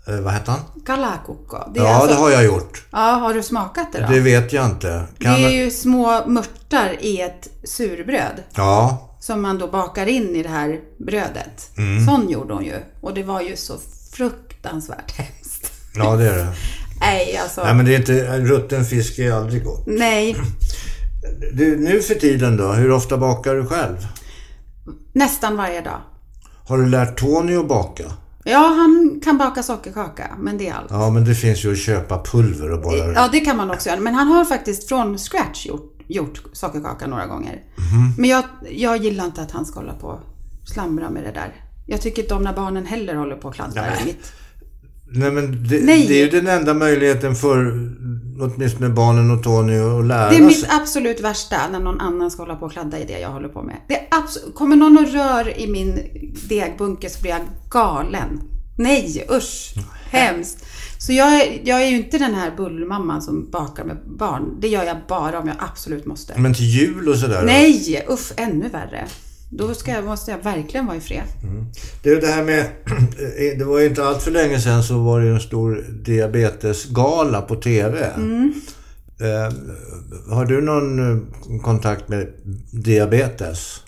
[SPEAKER 1] Eh, vad hette han?
[SPEAKER 2] Kalakukko. Det är
[SPEAKER 1] Ja,
[SPEAKER 2] alltså,
[SPEAKER 1] det har jag gjort.
[SPEAKER 2] ja, har du smakat det då?
[SPEAKER 1] Det vet jag inte.
[SPEAKER 2] det
[SPEAKER 1] Kan...
[SPEAKER 2] är ju små mörtar i ett surbröd.
[SPEAKER 1] Ja,
[SPEAKER 2] som man då bakar in i det här brödet.
[SPEAKER 1] Mm.
[SPEAKER 2] Sån gjorde hon ju. Och det var ju så fruktansvärt hemskt.
[SPEAKER 1] ja det är det.
[SPEAKER 2] Nej, alltså.
[SPEAKER 1] Nej, men det är inte, rutten fisk är aldrig gott.
[SPEAKER 2] Nej,
[SPEAKER 1] Du, nu för tiden då, hur ofta bakar du själv?
[SPEAKER 2] nästan varje dag.
[SPEAKER 1] Har du lärt Tony att baka?
[SPEAKER 2] Ja, han kan baka sockerkaka, men det är allt.
[SPEAKER 1] Ja, men det finns ju att köpa pulver och bara...
[SPEAKER 2] Eh, Ja, det kan man också göra. Men han har faktiskt från scratch gjort, gjort sockerkaka några gånger. Men jag, jag gillar inte att han ska hålla på och slamra med det där. Jag tycker inte om när barnen heller håller på och kladdar i mitt.
[SPEAKER 1] Nej, men det,
[SPEAKER 2] Nej.
[SPEAKER 1] det är ju den enda möjligheten för åtminstone barnen och Tony att lära
[SPEAKER 2] Det är
[SPEAKER 1] sig.
[SPEAKER 2] mitt absolut värsta, när någon annan ska hålla på och kladda i det jag håller på med. Det är abs- Kommer någon och rör i min degbunke så blir jag galen. Nej, usch! Hemskt! Så jag är, jag är ju inte den här bullmamman som bakar med barn. Det gör jag bara om jag absolut måste.
[SPEAKER 1] Men till jul och sådär.
[SPEAKER 2] Nej, usch, ännu värre. Då ska jag, måste jag verkligen vara i fred.
[SPEAKER 1] Du, det här med... eh, Det var ju inte allt för länge sedan så var det ju en stor diabetesgala på TV.
[SPEAKER 2] Mm.
[SPEAKER 1] Eh, har du någon eh, kontakt med diabetes?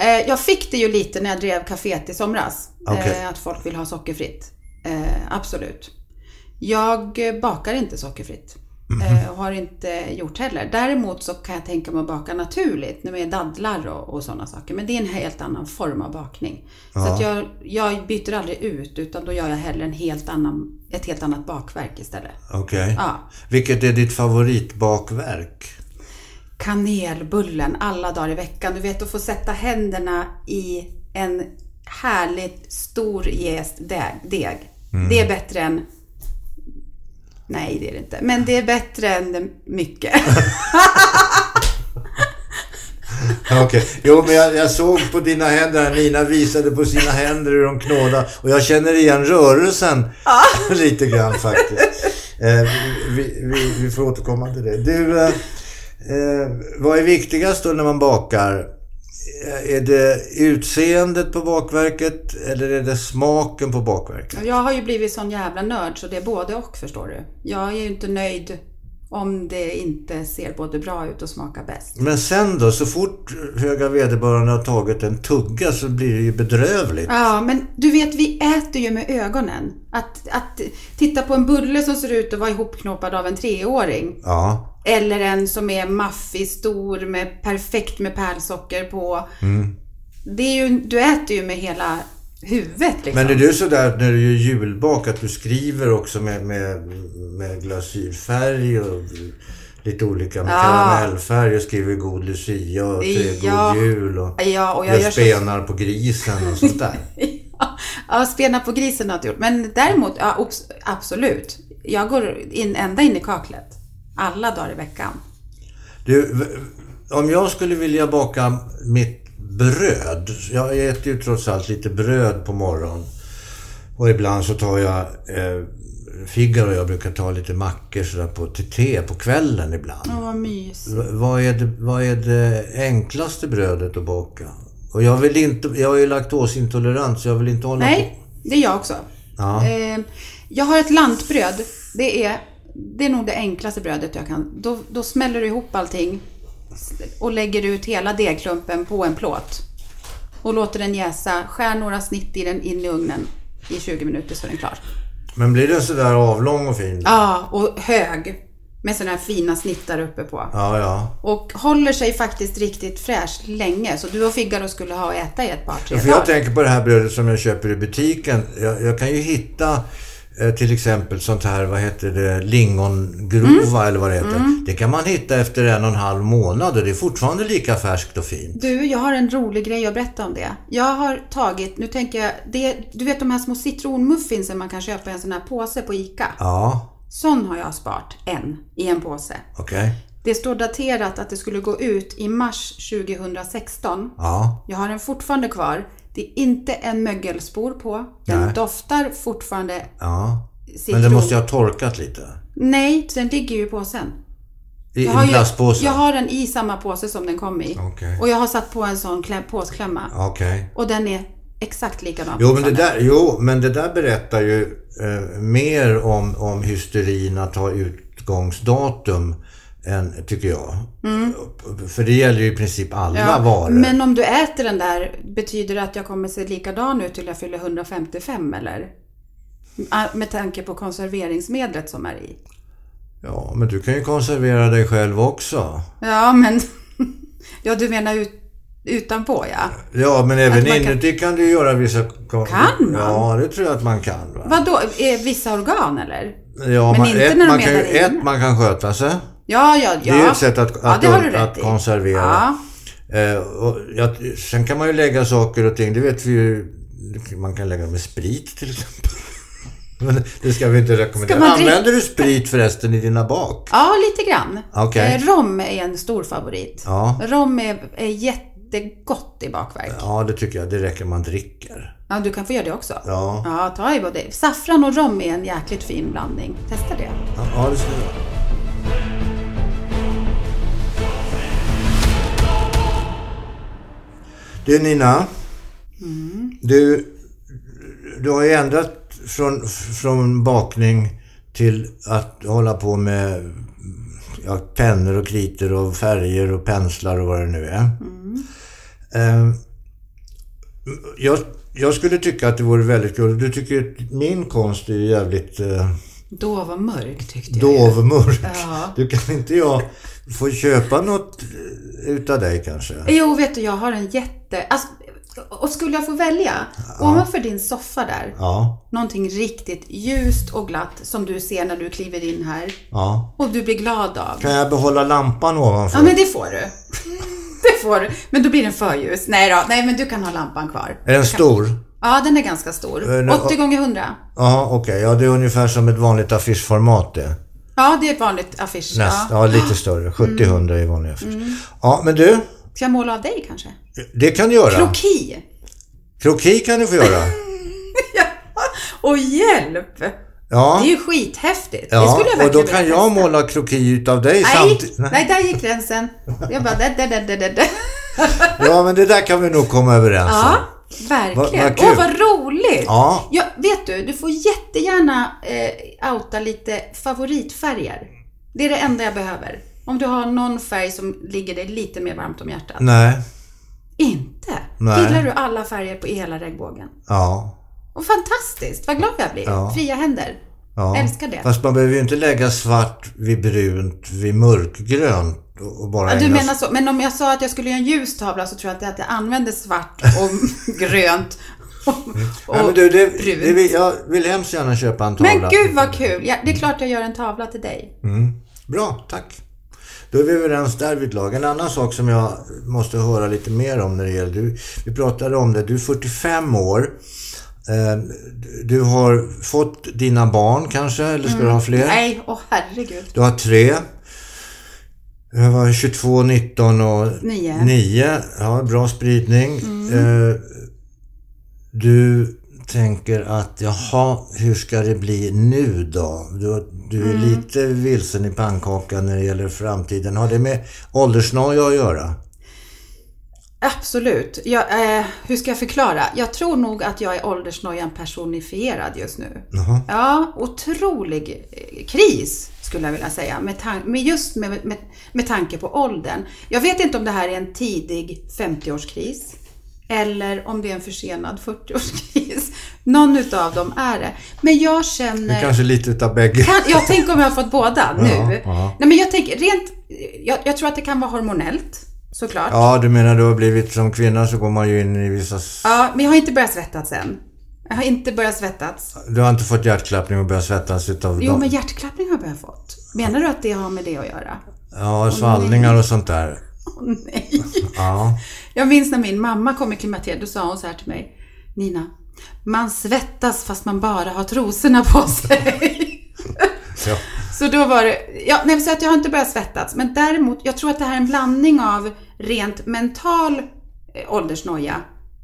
[SPEAKER 2] Eh, Jag fick det ju lite när jag drev kaféet i somras.
[SPEAKER 1] Okej.
[SPEAKER 2] eh, Att folk vill ha sockerfritt. Eh, Absolut. Jag eh, bakar inte sockerfritt. Eh, Och har inte gjort heller. Däremot så kan jag tänka mig att baka naturligt. Nu med dadlar och, och sådana saker. Men det är en helt annan form av bakning. Så att jag, jag byter aldrig ut utan då gör jag hellre en helt annan, ett helt annat bakverk istället.
[SPEAKER 1] Okej.
[SPEAKER 2] Ja.
[SPEAKER 1] Vilket är ditt favoritbakverk?
[SPEAKER 2] kanelbullen alla dagar i veckan. Du vet att få sätta händerna i en härligt stor jäst deg. deg. Det är bättre än... Nej, det är det inte. Men det är bättre än det- mycket.
[SPEAKER 1] Okej. Jo, men jag, jag såg på dina händer, här, Nina visade på sina händer hur de knådade. Och jag känner igen rörelsen lite grann faktiskt. Eh, vi, vi, vi får återkomma till det. Du, eh, eh, vad är viktigast då när man bakar? Eh, Är det utseendet på bakverket eller är det smaken på bakverket?
[SPEAKER 2] Jag har ju blivit sån jävla nörd så det är både och förstår du. Jag är ju inte nöjd om det inte ser både bra ut och smakar bäst.
[SPEAKER 1] Men sen då, så fort höga vederbörande har tagit en tugga så blir det ju bedrövligt.
[SPEAKER 2] Ja, men du vet, vi äter ju med ögonen. Att, att titta på en bulle som ser ut att vara ihopknoppad av en treåring.
[SPEAKER 1] Ja.
[SPEAKER 2] Eller en som är maffig, stor, med, perfekt med pärlsocker på. Det är ju, du äter ju med hela huvudet liksom.
[SPEAKER 1] Men är du sådär när du gör julbak att du skriver också med, med, med glasyrfärg och lite olika med
[SPEAKER 2] Ja.
[SPEAKER 1] karamellfärg och skriver god lucia och säger
[SPEAKER 2] Ja.
[SPEAKER 1] god jul och
[SPEAKER 2] Ja, och jag
[SPEAKER 1] gör
[SPEAKER 2] gör så-
[SPEAKER 1] spenar på grisen och sånt där.
[SPEAKER 2] Ja, Ja, spena på grisen har jag inte gjort. Men däremot, ja, obs- absolut. Jag går in, ända in i kaklet. Alla dagar i veckan.
[SPEAKER 1] Du, v- om jag skulle vilja baka mitt bröd. Jag äter ju trots allt lite bröd på morgonen. Och ibland så tar jag eh, Figaro och jag brukar ta lite mackor sådär på, till te på kvällen ibland.
[SPEAKER 2] Åh, vad mys.
[SPEAKER 1] V- Vad är, det, vad är det enklaste brödet att baka? Och jag vill inte... Jag är ju laktosintolerant så jag vill inte hålla på...
[SPEAKER 2] Nej, det är jag också.
[SPEAKER 1] Ja.
[SPEAKER 2] Eh, jag har ett lantbröd. Det är, det är nog det enklaste brödet jag kan. Då, då smäller du ihop allting och lägger ut hela degklumpen på en plåt. Och låter den jäsa. Skär några snitt i den in i ugnen i 20 minuter så är den klar.
[SPEAKER 1] Men blir den sådär avlång och fin?
[SPEAKER 2] Ja, och hög. Med sådana här fina snittar uppe på.
[SPEAKER 1] Ja, ja.
[SPEAKER 2] Och håller sig faktiskt riktigt fräsch länge. Så du och Figaro skulle ha att äta i ett par, tre
[SPEAKER 1] Ja, för jag
[SPEAKER 2] dagar.
[SPEAKER 1] tänker på det här brödet som jag köper i butiken. Jag, jag kan ju hitta eh, till exempel sånt här, vad heter det, lingongrova
[SPEAKER 2] Mm.
[SPEAKER 1] eller vad det heter. Det kan man hitta efter en och en halv månad och det är fortfarande lika färskt och fint.
[SPEAKER 2] Du, jag har en rolig grej att berätta om det. Jag har tagit, nu tänker jag, det, du vet de här små citronmuffinsen man kan köpa i en sån här påse på ICA.
[SPEAKER 1] Ja,
[SPEAKER 2] Sån har jag sparat, en, i en påse.
[SPEAKER 1] okej.
[SPEAKER 2] Det står daterat att det skulle gå ut i mars 2016.
[SPEAKER 1] Ja,
[SPEAKER 2] Jag har den fortfarande kvar. Det är inte en mögelspor på. Den
[SPEAKER 1] Nej.
[SPEAKER 2] doftar fortfarande
[SPEAKER 1] ja.
[SPEAKER 2] citron.
[SPEAKER 1] Men det måste jag ha torkat lite.
[SPEAKER 2] Nej, den ligger ju i påsen.
[SPEAKER 1] I
[SPEAKER 2] Jag
[SPEAKER 1] i
[SPEAKER 2] har
[SPEAKER 1] en
[SPEAKER 2] ju-
[SPEAKER 1] plastpåse?
[SPEAKER 2] Jag har den i samma påse som den kom i.
[SPEAKER 1] Okej.
[SPEAKER 2] Och jag har satt på en sån klä, påsklämma.
[SPEAKER 1] Okej.
[SPEAKER 2] Och den är exakt likadan.
[SPEAKER 1] Jo men, det
[SPEAKER 2] fortfarande.
[SPEAKER 1] där, jo, men det där berättar ju eh, mer om, om hysterin att ha utgångsdatum än, tycker jag. För det gäller ju i princip alla varor.
[SPEAKER 2] Mm. Men om du äter den där, betyder det att jag kommer se likadan ut till jag fyller 155 eller? Ah, Med tanke på konserveringsmedlet som är i.
[SPEAKER 1] Ja, men du kan ju konservera dig själv också.
[SPEAKER 2] Ja, men... ja, du menar ut, utanpå ja.
[SPEAKER 1] Ja, men även
[SPEAKER 2] man kan-
[SPEAKER 1] inuti kan... du göra vissa... Kan
[SPEAKER 2] man?
[SPEAKER 1] Ja, det tror jag att man kan. Va?
[SPEAKER 2] Vadå, är vissa organ eller?
[SPEAKER 1] Ja,
[SPEAKER 2] Men
[SPEAKER 1] man,
[SPEAKER 2] inte
[SPEAKER 1] ett,
[SPEAKER 2] när de
[SPEAKER 1] man kan ju,
[SPEAKER 2] är där inne.
[SPEAKER 1] ett, man kan sköta sig.
[SPEAKER 2] Ja, ja, ja.
[SPEAKER 1] Det är ju ett sätt att,
[SPEAKER 2] ja,
[SPEAKER 1] att,
[SPEAKER 2] det har du
[SPEAKER 1] att
[SPEAKER 2] rätt i.
[SPEAKER 1] konservera.
[SPEAKER 2] Ja.
[SPEAKER 1] Eh, och jag, sen kan man ju lägga saker och ting, det vet vi ju. Man kan lägga med sprit till exempel. Men det ska vi inte rekommendera.
[SPEAKER 2] Ska man dricka-
[SPEAKER 1] Använder du sprit förresten i dina bak?
[SPEAKER 2] Ja, lite grann.
[SPEAKER 1] Okej.
[SPEAKER 2] Eh, Rom är en stor favorit.
[SPEAKER 1] Ja.
[SPEAKER 2] Rom är, är jättegott i bakverk. Ja.
[SPEAKER 1] Ja, det tycker jag. Det räcker man dricker.
[SPEAKER 2] du kan få göra det också.
[SPEAKER 1] Ja,
[SPEAKER 2] Ja, ta i både. Saffran och rom är en jäkligt fin blandning. Testa det.
[SPEAKER 1] ja det ska jag. Du Nina. Du, du har ju ändrat från, från bakning till att hålla på med ja, pennor och kritor och färger och penslar och vad det nu är. Ehm, jag, jag skulle tycka att det vore väldigt kul. Du tycker ju att min konst är ju jävligt eh,
[SPEAKER 2] Då var mörk tyckte jag.
[SPEAKER 1] dovmörk.
[SPEAKER 2] Ja.
[SPEAKER 1] Du kan inte jag få köpa något eh, utav dig kanske?
[SPEAKER 2] Jo, vet du, jag har en jätte... Alltså, och skulle jag få välja? Ovanför din soffa där.
[SPEAKER 1] Ja,
[SPEAKER 2] Någonting riktigt ljust och glatt som du ser när du kliver in här.
[SPEAKER 1] ja.
[SPEAKER 2] Och du blir glad av.
[SPEAKER 1] Kan jag behålla lampan ovanför?
[SPEAKER 2] Ja, men det får du. det får du. Men då blir den för ljus. Nej då, nej men du kan ha lampan kvar.
[SPEAKER 1] Är den stor?
[SPEAKER 2] Ja, den är ganska stor.
[SPEAKER 1] Eh, nu-
[SPEAKER 2] 80 gånger 100.
[SPEAKER 1] Ja, okej. Ja, det är ungefär som ett vanligt affischformat det.
[SPEAKER 2] Ja, det är ett vanligt affisch.
[SPEAKER 1] Näst,
[SPEAKER 2] Ja. Mm.
[SPEAKER 1] ja. lite större. 70-100 är vanlig affisch. Ja, men du.
[SPEAKER 2] Ska jag måla av dig kanske?
[SPEAKER 1] Det kan du göra.
[SPEAKER 2] Kroki!
[SPEAKER 1] Kroki kan du få göra.
[SPEAKER 2] Och hjälp! Det
[SPEAKER 1] Ja.
[SPEAKER 2] är ju skithäftigt. det
[SPEAKER 1] ja
[SPEAKER 2] skulle jag
[SPEAKER 1] och då
[SPEAKER 2] verkligen
[SPEAKER 1] kan
[SPEAKER 2] vilja
[SPEAKER 1] jag
[SPEAKER 2] testa.
[SPEAKER 1] måla kroki utav dig
[SPEAKER 2] Nej,
[SPEAKER 1] samtidigt.
[SPEAKER 2] nej, där gick gränsen. Jag bara, där, där, där, där, där, där.
[SPEAKER 1] Ja, men det där kan vi nog komma överens om.
[SPEAKER 2] Ja, verkligen.
[SPEAKER 1] vad kul.
[SPEAKER 2] Åh, vad roligt!
[SPEAKER 1] Ja.
[SPEAKER 2] Ja, vet du, du får jättegärna eh, outa lite favoritfärger. Det är det enda jag behöver. Om du har någon färg som ligger dig lite mer varmt om hjärtat.
[SPEAKER 1] Nej.
[SPEAKER 2] Inte!
[SPEAKER 1] Nej.
[SPEAKER 2] Gillar du alla färger på hela regnbågen?
[SPEAKER 1] Ja.
[SPEAKER 2] Och fantastiskt! Vad glad jag blir!
[SPEAKER 1] Ja.
[SPEAKER 2] Fria händer.
[SPEAKER 1] ja.
[SPEAKER 2] Älskar det.
[SPEAKER 1] Fast man behöver ju inte lägga svart vid brunt vid mörkgrönt och och bara
[SPEAKER 2] Ja, du
[SPEAKER 1] ägna
[SPEAKER 2] menar så. Men om jag sa att jag skulle göra en ljus tavla så tror jag inte att jag använde svart och grönt och, och
[SPEAKER 1] Nej, men du, det,
[SPEAKER 2] brunt.
[SPEAKER 1] det, vill- jag vill hemskt gärna köpa en tavla.
[SPEAKER 2] Men gud vad kul! Ja, det är klart jag gör en tavla till dig.
[SPEAKER 1] Bra, tack. Då är vi överens därvidlag. En annan sak som jag måste höra lite mer om när det gäller du. Vi pratade om det. Du är 45 år. Eh, Du har fått dina barn kanske, eller ska du ha fler?
[SPEAKER 2] Mm. Nej, åh herregud.
[SPEAKER 1] Du har tre. Jag var 22, 19 och
[SPEAKER 2] Nio. Mm.
[SPEAKER 1] 9. Ja, bra spridning. Eh, Du tänker att jaha, hur ska det bli nu då? Du, du är
[SPEAKER 2] Mm.
[SPEAKER 1] lite vilsen i pannkakan när det gäller framtiden. Har det med åldersnoja att göra?
[SPEAKER 2] Absolut. Jag, eh, hur ska jag förklara? Jag tror nog att jag är åldersnojan personifierad just nu.
[SPEAKER 1] Jaha.
[SPEAKER 2] Ja, otrolig eh, kris skulle jag vilja säga. Med tan- med just med, med, med tanke på åldern. Jag vet inte om det här är en tidig 50-årskris. Eller om det är en försenad 40-årskris. Någon utav dem är det. Men jag
[SPEAKER 1] Det
[SPEAKER 2] känner...
[SPEAKER 1] är kanske lite utav bägge.
[SPEAKER 2] Kan, jag tänker om jag har fått båda nu.
[SPEAKER 1] ja.
[SPEAKER 2] Nej, men jag tänker rent... Jag, jag tror att det kan vara hormonellt, såklart. Ja.
[SPEAKER 1] Ja, du menar du har blivit som kvinna så går man ju in i vissa... s-
[SPEAKER 2] men jag har inte börjat svettas än. Jag har inte börjat svettas.
[SPEAKER 1] Du har inte fått hjärtklappning och börjat svettas utav
[SPEAKER 2] Jo,
[SPEAKER 1] dem?
[SPEAKER 2] men hjärtklappning har jag börjat fått. Menar du att det har med det att göra?
[SPEAKER 1] Ja, svallningar och sånt där.
[SPEAKER 2] Åh nej.
[SPEAKER 1] Ja.
[SPEAKER 2] Jag minns när min mamma kom i klimakteriet, då sa hon så här till mig. Nina, man svettas fast man bara har trosorna på sig.
[SPEAKER 1] ja.
[SPEAKER 2] Så då var det, ja, nej, så att jag har inte börjat svettas. Men däremot, jag tror att det här är en blandning av rent mental eh, åldersnoja,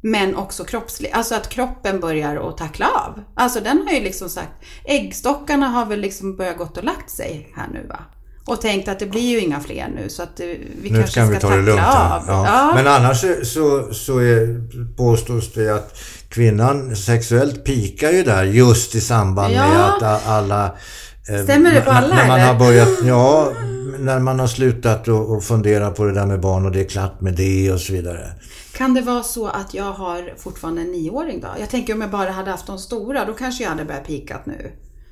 [SPEAKER 2] men också kroppslig. Alltså att kroppen börjar att tackla av. Alltså den har ju liksom sagt, äggstockarna har väl liksom börjat gått och lagt sig här nu va? Och tänkt att det blir ju inga fler nu så att eh, vi
[SPEAKER 1] Nu
[SPEAKER 2] kanske
[SPEAKER 1] kan vi
[SPEAKER 2] ska
[SPEAKER 1] ta
[SPEAKER 2] tackla
[SPEAKER 1] det lugnt här.
[SPEAKER 2] av.
[SPEAKER 1] Ja. Men annars så- så, så är, påstås det att kvinnan sexuellt pikar ju där just i samband med
[SPEAKER 2] Ja.
[SPEAKER 1] att a- alla... eh,
[SPEAKER 2] Stämmer det på
[SPEAKER 1] n-
[SPEAKER 2] alla,
[SPEAKER 1] När man
[SPEAKER 2] eller?
[SPEAKER 1] har börjat, ja, när man har slutat att att fundera på det där med barn och det är klart med det och så vidare.
[SPEAKER 2] Kan det vara så att jag har fortfarande en nioåring då? Jag tänker om jag bara hade haft de stora, då kanske jag hade börjat pikat nu.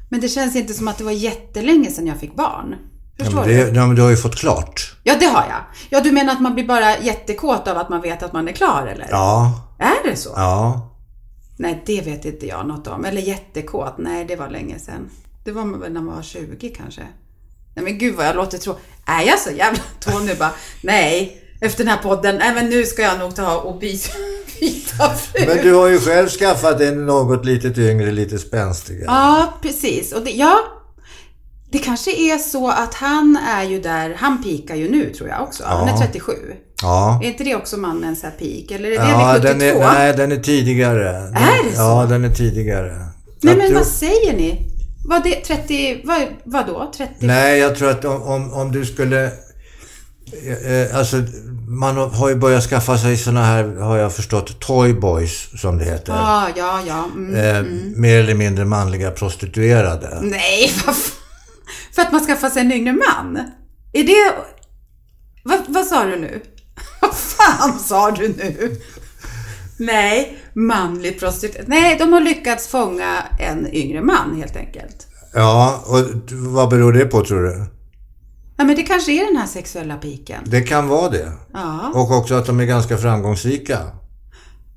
[SPEAKER 2] Men det känns inte som att det var jättelänge sedan jag fick barn.
[SPEAKER 1] Ja,
[SPEAKER 2] Förstår
[SPEAKER 1] men,
[SPEAKER 2] du?
[SPEAKER 1] det, ja, men du har ju fått klart.
[SPEAKER 2] Ja, det har jag. Ja, du menar att man blir bara jättekåt av att man vet att man är klar eller?
[SPEAKER 1] Ja,
[SPEAKER 2] Är det så?
[SPEAKER 1] ja.
[SPEAKER 2] Nej, det vet inte jag något om. Eller jättekåt, nej det var länge sedan. Det var väl när man var 20 kanske. Nej men gud vad jag låter tro. Är jag så jävla tå nu bara? Nej, efter den här podden, nej men nu ska jag nog ta och byta, byta fru.
[SPEAKER 1] Men du har ju själv skaffat en något lite yngre, lite spänstigare.
[SPEAKER 2] Ja, precis. Och det, ja, det kanske är så att han är ju där, han pikar ju nu tror jag också. Han är
[SPEAKER 1] Ja.
[SPEAKER 2] 37.
[SPEAKER 1] Ja.
[SPEAKER 2] Är inte det också mannens så här peak? Eller är det
[SPEAKER 1] Ja,
[SPEAKER 2] vid 72?
[SPEAKER 1] den är, nej, den är tidigare. Den,
[SPEAKER 2] Är det så?
[SPEAKER 1] Ja, den är tidigare.
[SPEAKER 2] nej
[SPEAKER 1] Jag
[SPEAKER 2] men
[SPEAKER 1] tror-
[SPEAKER 2] vad säger ni? Vad det 30, vad, vadå? 30?
[SPEAKER 1] Nej, jag tror att om, om, om du skulle... eh, Eh, alltså, man har ju börjat skaffa sig såna här, har jag förstått, toyboys som det heter.
[SPEAKER 2] Ja, ja, ja. Mm.
[SPEAKER 1] Eh, Mer eller mindre manliga prostituerade.
[SPEAKER 2] Nej, vad fan. För att man skaffar sig en yngre man? Är det... Vad, vad sa du nu? Vad fan sa du nu? Nej, manlig prostitution. Nej, de har lyckats fånga en yngre man helt enkelt.
[SPEAKER 1] Ja, och d- vad beror det på tror du?
[SPEAKER 2] Ja, men det kanske är den här sexuella piken.
[SPEAKER 1] Det kan vara det.
[SPEAKER 2] Ja.
[SPEAKER 1] Och också att de är ganska framgångsrika.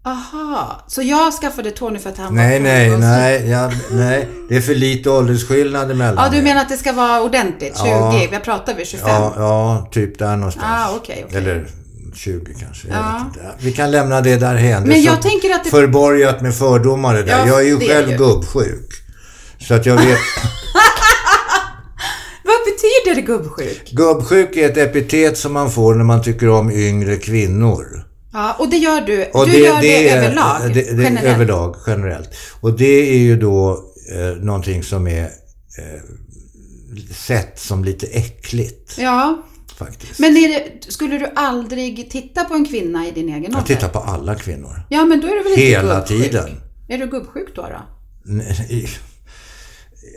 [SPEAKER 2] Aha, så jag skaffade Tony för att han
[SPEAKER 1] Nej,
[SPEAKER 2] var
[SPEAKER 1] nej,
[SPEAKER 2] framgångsrik.
[SPEAKER 1] nej, ja, nej. Det är för lite åldersskillnad emellan.
[SPEAKER 2] Ja, du
[SPEAKER 1] er.
[SPEAKER 2] menar att det ska vara ordentligt? 20?
[SPEAKER 1] Ja.
[SPEAKER 2] Vad pratar vi? 25?
[SPEAKER 1] Ja, ja, typ där någonstans.
[SPEAKER 2] Ah, okej, okej.
[SPEAKER 1] Eller 20 kanske. Jag
[SPEAKER 2] Ja.
[SPEAKER 1] vet inte. Vi kan lämna det därhen. Det är
[SPEAKER 2] Men
[SPEAKER 1] så
[SPEAKER 2] jag tänker att det-
[SPEAKER 1] Förborgat med fördomar det där.
[SPEAKER 2] Ja,
[SPEAKER 1] jag är ju
[SPEAKER 2] det är
[SPEAKER 1] själv
[SPEAKER 2] ju.
[SPEAKER 1] gubbsjuk. Så att jag vet...
[SPEAKER 2] Vad betyder det gubbsjuk?
[SPEAKER 1] gubbsjuk är ett epitet som man får när man tycker om yngre kvinnor.
[SPEAKER 2] Ja, och det gör du. du gör det,
[SPEAKER 1] är-
[SPEAKER 2] överlag?
[SPEAKER 1] Det, det är
[SPEAKER 2] generellt.
[SPEAKER 1] överlag, generellt. Och det är ju då eh, någonting som är eh, sett som lite äckligt
[SPEAKER 2] Ja,
[SPEAKER 1] faktiskt.
[SPEAKER 2] men är det, skulle du aldrig titta på en kvinna i din egen ålder?
[SPEAKER 1] Jag tittar på alla kvinnor.
[SPEAKER 2] Ja, men då är du väl inte
[SPEAKER 1] Hela
[SPEAKER 2] gubbsjuk?
[SPEAKER 1] tiden.
[SPEAKER 2] Är du gubbsjuk då? då?
[SPEAKER 1] Nej,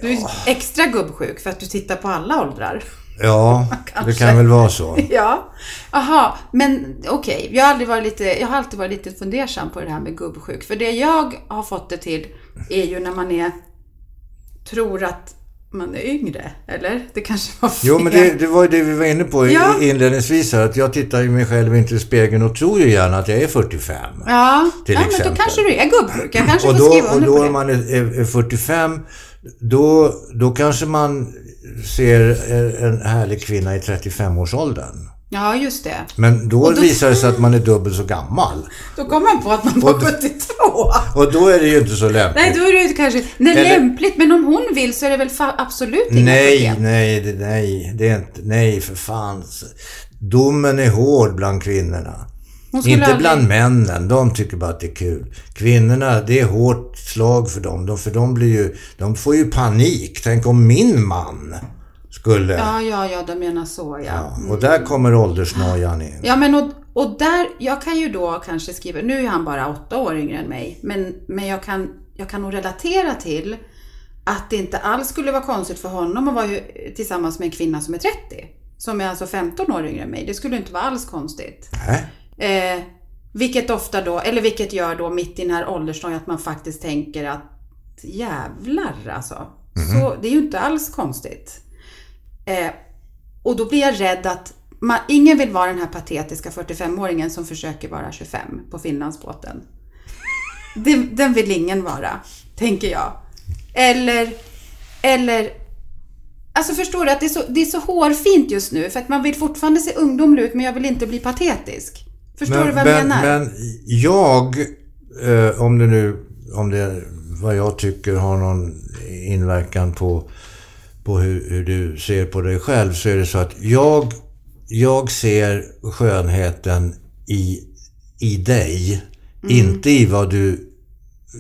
[SPEAKER 2] Du är extra gubbsjuk för att du tittar på alla åldrar.
[SPEAKER 1] Ja, det kan väl vara så.
[SPEAKER 2] Ja. Aha, men okej. Jag, har aldrig varit lite- jag har alltid varit lite fundersam på det här med gubbsjuk. För det jag har fått det till är ju när man är, tror att man är yngre. Eller? Det kanske var fel.
[SPEAKER 1] Jo, men det, det var ju det vi var inne på i-
[SPEAKER 2] Ja.
[SPEAKER 1] inledningsvis här, att jag tittar ju mig själv inte i spegeln och tror ju gärna att jag är 45.
[SPEAKER 2] Ja,
[SPEAKER 1] till
[SPEAKER 2] ja men
[SPEAKER 1] exempel.
[SPEAKER 2] då kanske du är gubbsjuk. Jag kanske
[SPEAKER 1] Och
[SPEAKER 2] får
[SPEAKER 1] då,
[SPEAKER 2] skriva
[SPEAKER 1] och
[SPEAKER 2] under
[SPEAKER 1] då
[SPEAKER 2] på det.
[SPEAKER 1] om man är, är är 45, då, då kanske man ser eh, en härlig kvinna i 35-årsåldern.
[SPEAKER 2] Ja, just det.
[SPEAKER 1] Men då,
[SPEAKER 2] då-
[SPEAKER 1] visar det sig att man är dubbelt så gammal.
[SPEAKER 2] Då kom man på att man var 72. på.
[SPEAKER 1] Och då är det ju inte så lämpligt.
[SPEAKER 2] Nej, då är det ju kanske... Nej,
[SPEAKER 1] Eller-
[SPEAKER 2] lämpligt. Men om hon vill så är det väl fa- absolut inga
[SPEAKER 1] Nej,
[SPEAKER 2] problem.
[SPEAKER 1] nej, det- nej, det är inte, nej för fan. Domen är hård bland kvinnorna.
[SPEAKER 2] Hon skulle
[SPEAKER 1] Inte
[SPEAKER 2] aldrig-
[SPEAKER 1] bland männen, de tycker bara att det är kul. Kvinnorna, det är hårt slag för dem, de, för de blir ju, de får ju panik. Tänk om min man skulle...
[SPEAKER 2] Ja, ja, ja, de menar så, ja.
[SPEAKER 1] Ja, och där kommer åldersnojan in.
[SPEAKER 2] Ja, men och, och där, jag kan ju då kanske skriva, nu är han bara åtta år yngre än mig, men, men jag, kan, jag kan nog relatera till att det inte alls skulle vara konstigt för honom att vara ju, tillsammans med en kvinna som är 30. Som är alltså 15 år yngre än mig. Det skulle inte vara alls konstigt.
[SPEAKER 1] Nej.
[SPEAKER 2] Eh, vilket ofta då, eller vilket gör då mitt i den här åldersdagen att man faktiskt tänker att jävlar alltså.
[SPEAKER 1] Mhm.
[SPEAKER 2] Så det är ju inte alls konstigt. Eh, och då blir jag rädd att man, ingen vill vara den här patetiska 45-åringen som försöker vara 25 på Finlandsbåten. Den, den vill ingen vara, tänker jag. Eller, eller Alltså förstår du att det är, så, det är så hårfint just nu för att man vill fortfarande se ungdomlig ut men jag vill inte bli patetisk. Förstår du vad
[SPEAKER 1] men,
[SPEAKER 2] jag menar?
[SPEAKER 1] Men jag, eh, om det nu, om det, vad jag tycker har någon inverkan på, på hur, hur du ser på dig själv, så är det så att jag, jag ser skönheten i, i dig,
[SPEAKER 2] Mm.
[SPEAKER 1] inte i vad du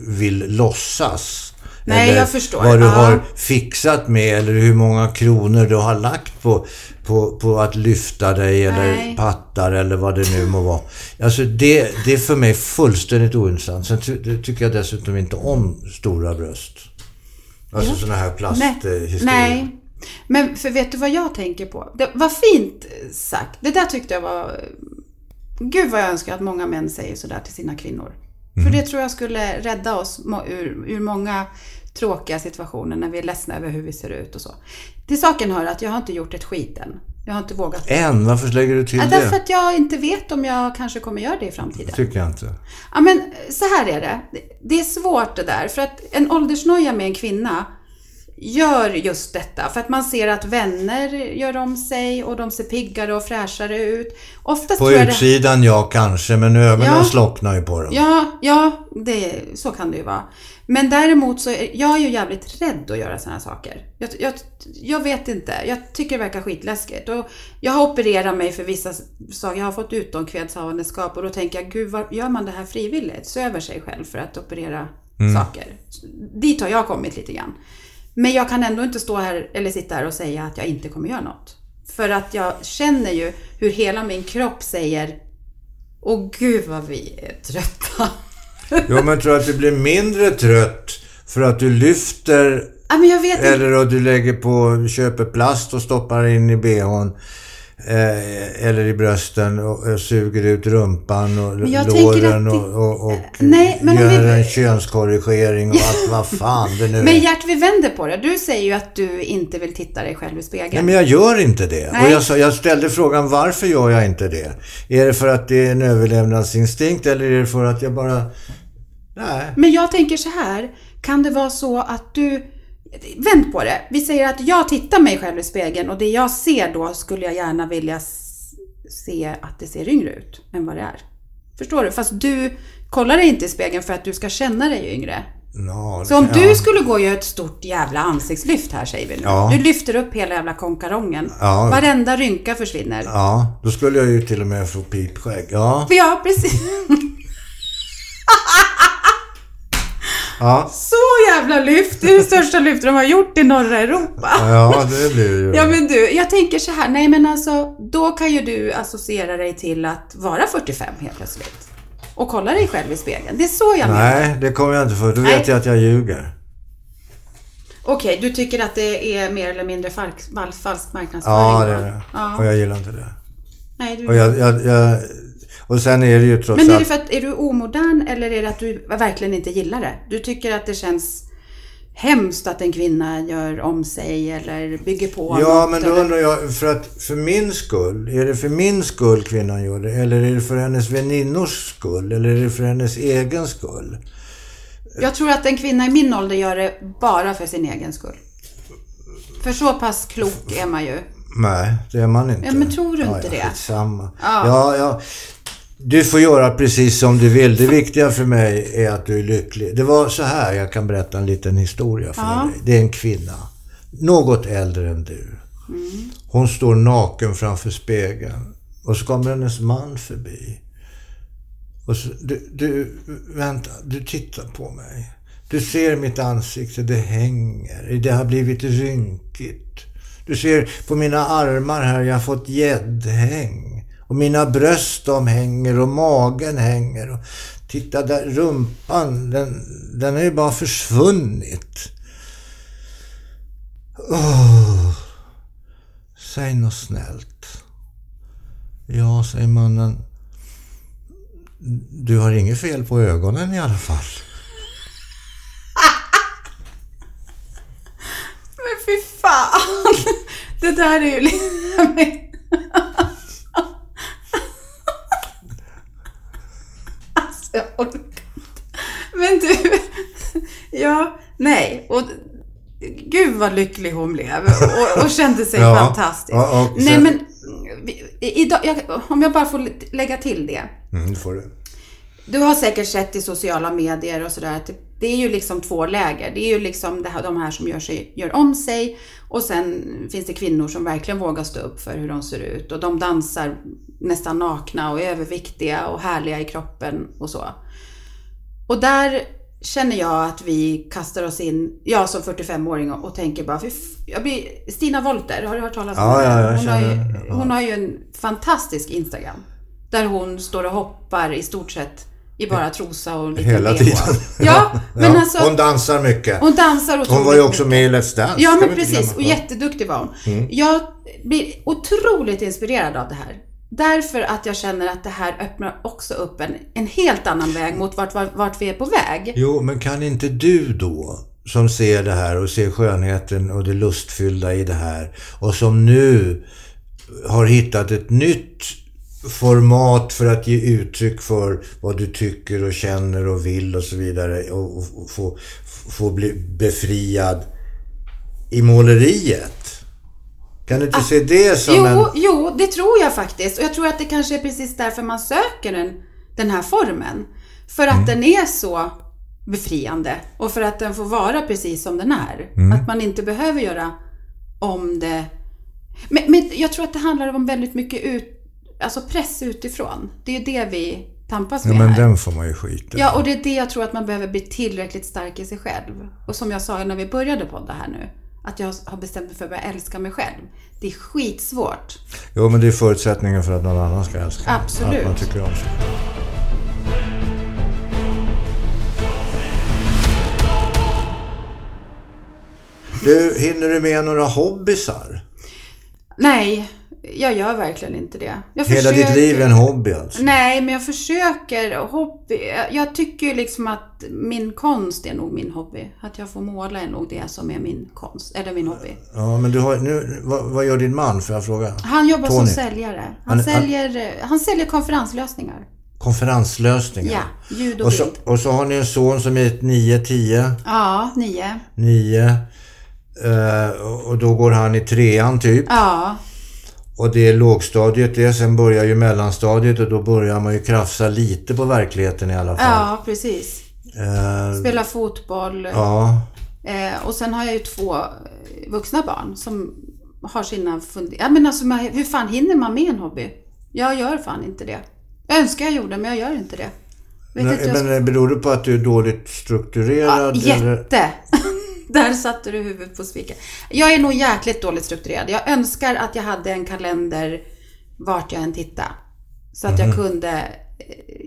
[SPEAKER 1] vill låtsas.
[SPEAKER 2] Nej,
[SPEAKER 1] eller
[SPEAKER 2] jag förstår.
[SPEAKER 1] vad du
[SPEAKER 2] Ja.
[SPEAKER 1] har fixat med eller hur många kronor du har lagt på, på, på att lyfta dig eller
[SPEAKER 2] Nej.
[SPEAKER 1] pattar eller vad det nu må vara. Alltså det, det är för mig fullständigt ointressant. Sen ty, det tycker jag dessutom inte om stora bröst. Alltså sådana här
[SPEAKER 2] Nej.
[SPEAKER 1] plasthistorier.
[SPEAKER 2] Nej. Men för vet du vad jag tänker på? Det, vad fint sagt. Det där tyckte jag var... Gud vad jag önskar att många män säger sådär till sina kvinnor. För det tror jag skulle rädda oss må- ur, ur många tråkiga situationer när vi är ledsna över hur vi ser ut och så. Till saken hör att jag har inte gjort ett skit än. Jag har inte vågat
[SPEAKER 1] Än, varför lägger du till
[SPEAKER 2] Ja, därför
[SPEAKER 1] det?
[SPEAKER 2] att jag inte vet om jag kanske kommer göra det i framtiden.
[SPEAKER 1] Tycker jag inte.
[SPEAKER 2] Ja, men eh, så här är det. Det är svårt det där. För att en åldersnoja med en kvinna gör just detta. För att man ser att vänner gör om sig och de ser piggare och fräschare ut. Oftast
[SPEAKER 1] På
[SPEAKER 2] tror jag det-
[SPEAKER 1] utsidan ja kanske, men ögonen
[SPEAKER 2] Ja.
[SPEAKER 1] slocknar ju på dem.
[SPEAKER 2] Ja, ja det, så kan det ju vara. Men däremot så är jag är ju jävligt rädd att göra sådana saker. Jag, jag, jag vet inte. Jag tycker det verkar skitläskigt. Och jag har opererat mig för vissa saker. Jag har fått utomkvedshavandeskap och då tänker jag, gud, vad, gör man det här frivilligt? Söver sig själv för att operera saker. Dit har jag kommit lite grann. Men jag kan ändå inte stå här eller sitta här och säga att jag inte kommer göra något. För att jag känner ju hur hela min kropp säger Åh gud vad vi är trötta.
[SPEAKER 1] Jo, men tror du att du blir mindre trött för att du lyfter
[SPEAKER 2] Ja, men jag vet inte.
[SPEAKER 1] Eller om du lägger på, köper plast och stoppar in i bhn. Eh, eller i brösten och, och suger ut rumpan och
[SPEAKER 2] jag tänker att
[SPEAKER 1] låren
[SPEAKER 2] det-
[SPEAKER 1] och, och, och
[SPEAKER 2] Nej, men om
[SPEAKER 1] gör
[SPEAKER 2] vi-
[SPEAKER 1] en könskorrigering och allt vad fan det nu
[SPEAKER 2] Men
[SPEAKER 1] är.
[SPEAKER 2] Gert, vi vänder på det. Du säger ju att du inte vill titta dig själv i spegeln.
[SPEAKER 1] Nej, men jag gör inte det.
[SPEAKER 2] Nej.
[SPEAKER 1] Och jag, sa, jag ställde frågan varför gör jag inte det? Är det för att det är en överlevnadsinstinkt eller är det för att jag bara... Nej.
[SPEAKER 2] Men jag tänker så här, kan det vara så att du... Vänd på det. Vi säger att jag tittar mig själv i spegeln och det jag ser då skulle jag gärna vilja s- se att det ser yngre ut än vad det är. Förstår du? Fast du kollar dig inte i spegeln för att du ska känna dig yngre.
[SPEAKER 1] Nå,
[SPEAKER 2] Så om
[SPEAKER 1] ja.
[SPEAKER 2] du skulle gå och göra ett stort jävla ansiktslyft här säger vi nu.
[SPEAKER 1] Ja.
[SPEAKER 2] Du lyfter upp hela jävla konkarongen.
[SPEAKER 1] Ja.
[SPEAKER 2] Varenda rynka försvinner. Ja,
[SPEAKER 1] Ja, då skulle jag ju till och med få pipskägg. Ja,
[SPEAKER 2] ja precis.
[SPEAKER 1] ja,
[SPEAKER 2] Så jävla lyft! Det är det största lyftet de har gjort i norra Europa.
[SPEAKER 1] ja det blir det ju.
[SPEAKER 2] Ja men du, jag tänker så här. Nej men alltså, då kan ju du associera dig till att vara 45 helt plötsligt. Och kolla dig själv i spegeln. Det är så jag menar.
[SPEAKER 1] Nej, det kommer jag inte för. Då vet
[SPEAKER 2] Nej.
[SPEAKER 1] jag att jag ljuger.
[SPEAKER 2] Okej, du tycker att det är mer eller mindre falsk, fal- falsk marknadsföring?
[SPEAKER 1] Ja, det
[SPEAKER 2] va?
[SPEAKER 1] är det. Och
[SPEAKER 2] Ja.
[SPEAKER 1] jag gillar inte det.
[SPEAKER 2] Nej, du...
[SPEAKER 1] Och, jag, jag, jag, och sen är det ju trots
[SPEAKER 2] Men är det
[SPEAKER 1] allt...
[SPEAKER 2] för att är du omodern eller är det att du verkligen inte gillar det? Du tycker att det känns hemskt att en kvinna gör om sig eller bygger på
[SPEAKER 1] Ja,
[SPEAKER 2] något
[SPEAKER 1] men då
[SPEAKER 2] eller-
[SPEAKER 1] undrar jag, för att för min skull, är det för min skull kvinnan gör det? Eller är det för hennes väninnors skull? Eller är det för hennes egen skull?
[SPEAKER 2] Jag tror att en kvinna i min ålder gör det bara för sin egen skull. För så pass klok är man ju.
[SPEAKER 1] Nej, det är man inte.
[SPEAKER 2] Ja, men tror du
[SPEAKER 1] ja,
[SPEAKER 2] inte
[SPEAKER 1] ja,
[SPEAKER 2] det?
[SPEAKER 1] Skitsamma.
[SPEAKER 2] Ja.
[SPEAKER 1] Ja, ja. Du får göra precis som du vill. Det viktiga för mig är att du är lycklig. Det var så här, jag kan berätta en liten historia för
[SPEAKER 2] Ja.
[SPEAKER 1] dig. Det är en kvinna, något äldre än du.
[SPEAKER 2] Mm.
[SPEAKER 1] Hon står naken framför spegeln och så kommer hennes man förbi. Och så, du, du, vänta, du tittar på mig. Du ser mitt ansikte, det hänger. Det har blivit rynkigt. Du ser på mina armar här, jag har fått gäddhäng. Och mina bröst de hänger och magen hänger. Och titta där, rumpan, den, den är ju bara försvunnit. Åh, säg något snällt. Ja, säger mannen. Du har inget fel på ögonen i alla fall.
[SPEAKER 2] Men fy fan! Det där är ju liksom... Alltså, jag orkar inte. Men du... Ja, nej. Och, gud vad lycklig hon blev och, och kände sig
[SPEAKER 1] Ja,
[SPEAKER 2] fantastisk.
[SPEAKER 1] ja, och
[SPEAKER 2] nej
[SPEAKER 1] sen-
[SPEAKER 2] men, vi- idag, jag, om jag bara får lite- lägga till det.
[SPEAKER 1] Mm, det får du.
[SPEAKER 2] Du har säkert sett i sociala medier och sådär att det- det är ju liksom två läger. Det är ju liksom det här, de här som gör, sig, gör om sig och sen finns det kvinnor som verkligen vågar stå upp för hur de ser ut och de dansar nästan nakna och är överviktiga och härliga i kroppen och så. Och där känner jag att vi kastar oss in, jag som 45-åring och, och tänker bara, "Fy f- jag blir, Stina Wolter, har du hört talas om
[SPEAKER 1] Ja,
[SPEAKER 2] henne?
[SPEAKER 1] ja, jag
[SPEAKER 2] hon, har ju,
[SPEAKER 1] känner- ja.
[SPEAKER 2] hon har ju en fantastisk Instagram. Där hon står och hoppar i stort sett i bara trosa och lite
[SPEAKER 1] Hela
[SPEAKER 2] bh.
[SPEAKER 1] tiden.
[SPEAKER 2] Ja, men
[SPEAKER 1] Ja,
[SPEAKER 2] alltså
[SPEAKER 1] hon
[SPEAKER 2] hon,
[SPEAKER 1] dansar mycket.
[SPEAKER 2] dansar och
[SPEAKER 1] Hon var ju också med i Let's Dance.
[SPEAKER 2] Ja,
[SPEAKER 1] ska
[SPEAKER 2] men
[SPEAKER 1] vi inte glömma.
[SPEAKER 2] precis.
[SPEAKER 1] Mm.
[SPEAKER 2] Och jätteduktig var hon. Jag blir otroligt inspirerad av det här. Därför att jag känner att det här öppnar också upp en, en helt annan väg mot vart, vart, vart vi är på väg.
[SPEAKER 1] Jo, men kan inte du då, som ser det här och ser skönheten och det lustfyllda i det här och som nu har hittat ett nytt format för att ge uttryck för vad du tycker och känner och vill och så vidare och, och, och få, få bli befriad i måleriet. Kan du inte se det som en...
[SPEAKER 2] Jo, jo, det tror jag faktiskt. Och jag tror att det kanske är precis därför man söker den, den här formen. För
[SPEAKER 1] Mm.
[SPEAKER 2] att den är så befriande och för att den får vara precis som den är.
[SPEAKER 1] Mm.
[SPEAKER 2] Att man inte behöver göra om det. Men, men jag tror att det handlar om väldigt mycket ut, alltså press utifrån. Det är ju det vi tampas med
[SPEAKER 1] Ja, men
[SPEAKER 2] här.
[SPEAKER 1] den får man ju skita i.
[SPEAKER 2] Ja, och det är det jag tror att man behöver bli tillräckligt stark i sig själv. Och som jag sa när vi började podda här nu, att jag har bestämt mig för att börja älska mig själv. Det är skitsvårt.
[SPEAKER 1] Jo, men det är förutsättningen för att någon annan ska älska en.
[SPEAKER 2] Absolut.
[SPEAKER 1] Att man tycker om sig själv. Du, hinner du med några hobbysar?
[SPEAKER 2] Nej, jag gör verkligen inte det. Jag
[SPEAKER 1] Hela ditt liv är en hobby alltså?
[SPEAKER 2] Nej, men jag försöker. Hobby, jag tycker ju liksom att min konst är nog min hobby. Att jag får måla är nog det som är min konst, eller min hobby.
[SPEAKER 1] Ja, men du har, nu, vad, vad gör din man? Får jag fråga?
[SPEAKER 2] Han jobbar som
[SPEAKER 1] Tony.
[SPEAKER 2] säljare. Han,
[SPEAKER 1] Han- han-
[SPEAKER 2] säljer, han... säljer konferenslösningar.
[SPEAKER 1] Konferenslösningar?
[SPEAKER 2] Ja, ljud och,
[SPEAKER 1] Och så,
[SPEAKER 2] bild.
[SPEAKER 1] och så har ni en son som är ett 9, 10,
[SPEAKER 2] Ja, nio.
[SPEAKER 1] 9. Eh, och- och då går han i trean typ.
[SPEAKER 2] Ja,
[SPEAKER 1] Och det är lågstadiet det, sen börjar ju mellanstadiet och då börjar man ju krafsa lite på verkligheten i alla fall.
[SPEAKER 2] ja precis.
[SPEAKER 1] Eh,
[SPEAKER 2] Spelar fotboll.
[SPEAKER 1] ja.
[SPEAKER 2] Eh, och sen har jag ju två eh, vuxna barn som har sina funderingar. Ja, men alltså, man, hur fan hinner man med en hobby? Jag gör fan inte det. Jag önskar jag gjorde, men jag gör inte det. Vet
[SPEAKER 1] Men,
[SPEAKER 2] inte, jag...
[SPEAKER 1] men det beror det på att du är dåligt strukturerad? eller?
[SPEAKER 2] Jätte! Där satte du huvudet på spiken. Jag är nog jäkligt dåligt strukturerad. Jag önskar att jag hade en kalender vart jag än tittade. Så att jag kunde... eh,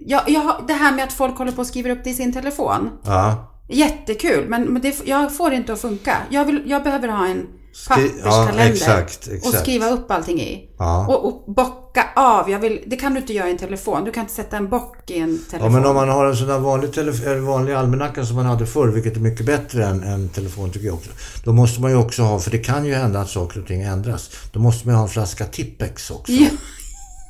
[SPEAKER 2] Jag, jag, har- det här med att folk håller på och skriver upp det i sin telefon.
[SPEAKER 1] Ja.
[SPEAKER 2] Jättekul, men, men det, jag får det inte att funka. Jag, vill, jag behöver ha en
[SPEAKER 1] Skri-
[SPEAKER 2] papperskalender
[SPEAKER 1] ja, exakt, exakt.
[SPEAKER 2] och skriva upp allting i.
[SPEAKER 1] Ja.
[SPEAKER 2] Och, och bocka av. Jag vill, det kan du inte göra i en telefon. Du kan inte sätta en bock i en
[SPEAKER 1] ja,
[SPEAKER 2] telefon.
[SPEAKER 1] men om man har en sån där vanlig, telef- eller vanlig almanacka som man hade förr, vilket är mycket bättre än, än telefon tycker jag också. Då måste man ju också ha, för det kan ju hända att saker och ting ändras, då måste man ju ha en flaska Tippex också.
[SPEAKER 2] Ja.